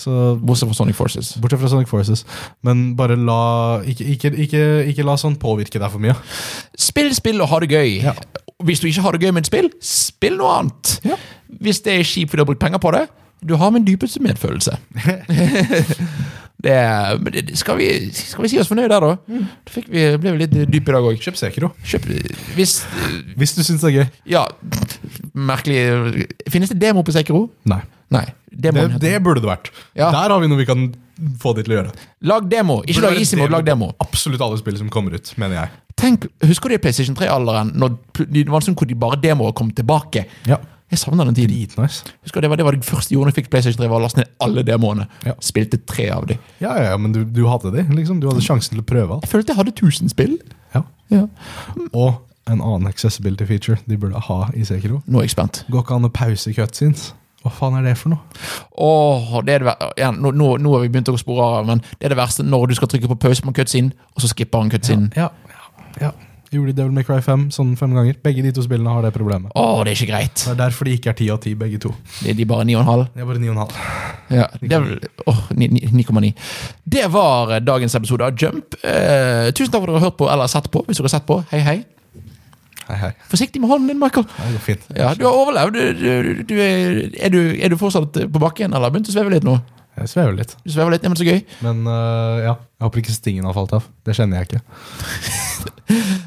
Så Bortsett fra Sonic Forces. Bortsett fra Sonic Forces. Men bare la ikke, ikke, ikke, ikke la sånn påvirke deg for mye. Spill spill og ha det gøy. Ja. Hvis du ikke har det gøy med et spill, spill noe annet. Ja. Hvis det er kjipt fordi du har brukt penger på det, du har min dypeste medfølelse. det, er- men det, skal, vi, skal vi si oss fornøyd der, da? Mm. Da fikk vi, ble vi litt dype i dag òg. Kjøp Sekiro. Hvis Hvis du syns det er gøy. Ja, merkelig Finnes det demo på Sekiro? Nei. Nei. Det, Demoen heter- det burde det vært. Ja. Der har vi noe vi kan få de til å gjøre. Lag demo! Ikke Burde lag være easy mode, demo. lag demo. Absolutt alle spill som kommer ut, mener jeg. Tenk, Husker du i PlayStation 3-alderen, når pl- det var en stund hvor de bare demoer kom tilbake? Ja. Jeg savner den tiden. Dritnice. Husker du, Det var det, var det første jeg gjorde når jeg fikk PlayStation 3, var å laste ned alle demoene. Ja. Spilte tre av dem. Mm. Ja, ja, ja, men du, du hadde de. Liksom. Du hadde sjansen til å prøve alt. Jeg følte jeg hadde 1000 spill. Ja. Og en annen accessibility feature de burde ha i Sekiro. Nå er jeg spent. Går ikke an å pause cutscenes. Hva faen er det for noe? Åh, det er det, ver- ja, nå, nå, nå har vi begynt å spore av, men det er det verste når du skal trykke på pause på en cutscene, og så skipper han cutscenen. Ja, ja, ja. Gjorde de Devil May Cry 5 sånn fem ganger. Begge de to spillene har det problemet. Åh, det er ikke greit. Det er derfor de ikke er 10 av 10 begge to. Det er de bare 9,5. Det er bare 9,5. Ja, det er vel åh, ni- ni- 9,9. Det var eh, dagens episode av Jump. Eh, tusen takk for at dere har hørt på eller sett på. Hvis dere har sett på, hei, hei. Hei, hei. Forsiktig med hånden din, Michael. Ja, Det går fint. Ja, Du har overlevd. Du, du, du er, er, du, er du fortsatt på bakken, eller begynte å sveve litt nå? Jeg svever litt. Du svever litt, ja, men så gøy. Men øh, ja, jeg håper ikke stingen har falt av. Det kjenner jeg ikke.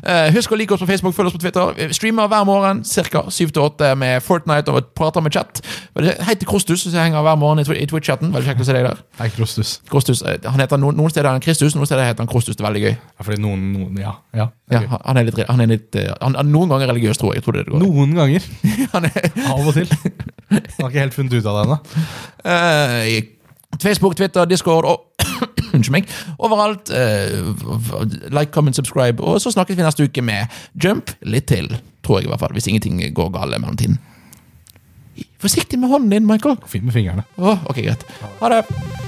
Eh, husk å like oss på Facebook, følg oss på Twitter. Vi streamer hver morgen ca. 7-8 med Fortnite og prater med chat. Hei til Krostus, som henger hver morgen i Twi- i Twitch-chatten. Veldig kjekt å se deg der. Hei, Krostus. Krostus, eh, han heter noen, noen steder er han Kristus, noen steder heter han Krostus. Det er veldig gøy. Ja, fordi noen, noen Ja. ja, det Ja, er gøy. han- han er litt, han er litt eh, han, han, Noen ganger religiøs, tror jeg. jeg tror det er det går. Noen ganger. Han er, Av og til. Jeg har ikke helt funnet ut av det ennå. eh, Facebook, Twitter, Discord og Unnskyld meg. Overalt. eh, like, comment, subscribe. Og så snakkes vi neste uke med Jump litt til, tror jeg i hvert fall. Hvis ingenting går galt i mellomtiden. Forsiktig med hånden din, Michael. Fint med fingrene. Åh, ok, greit. Ha det.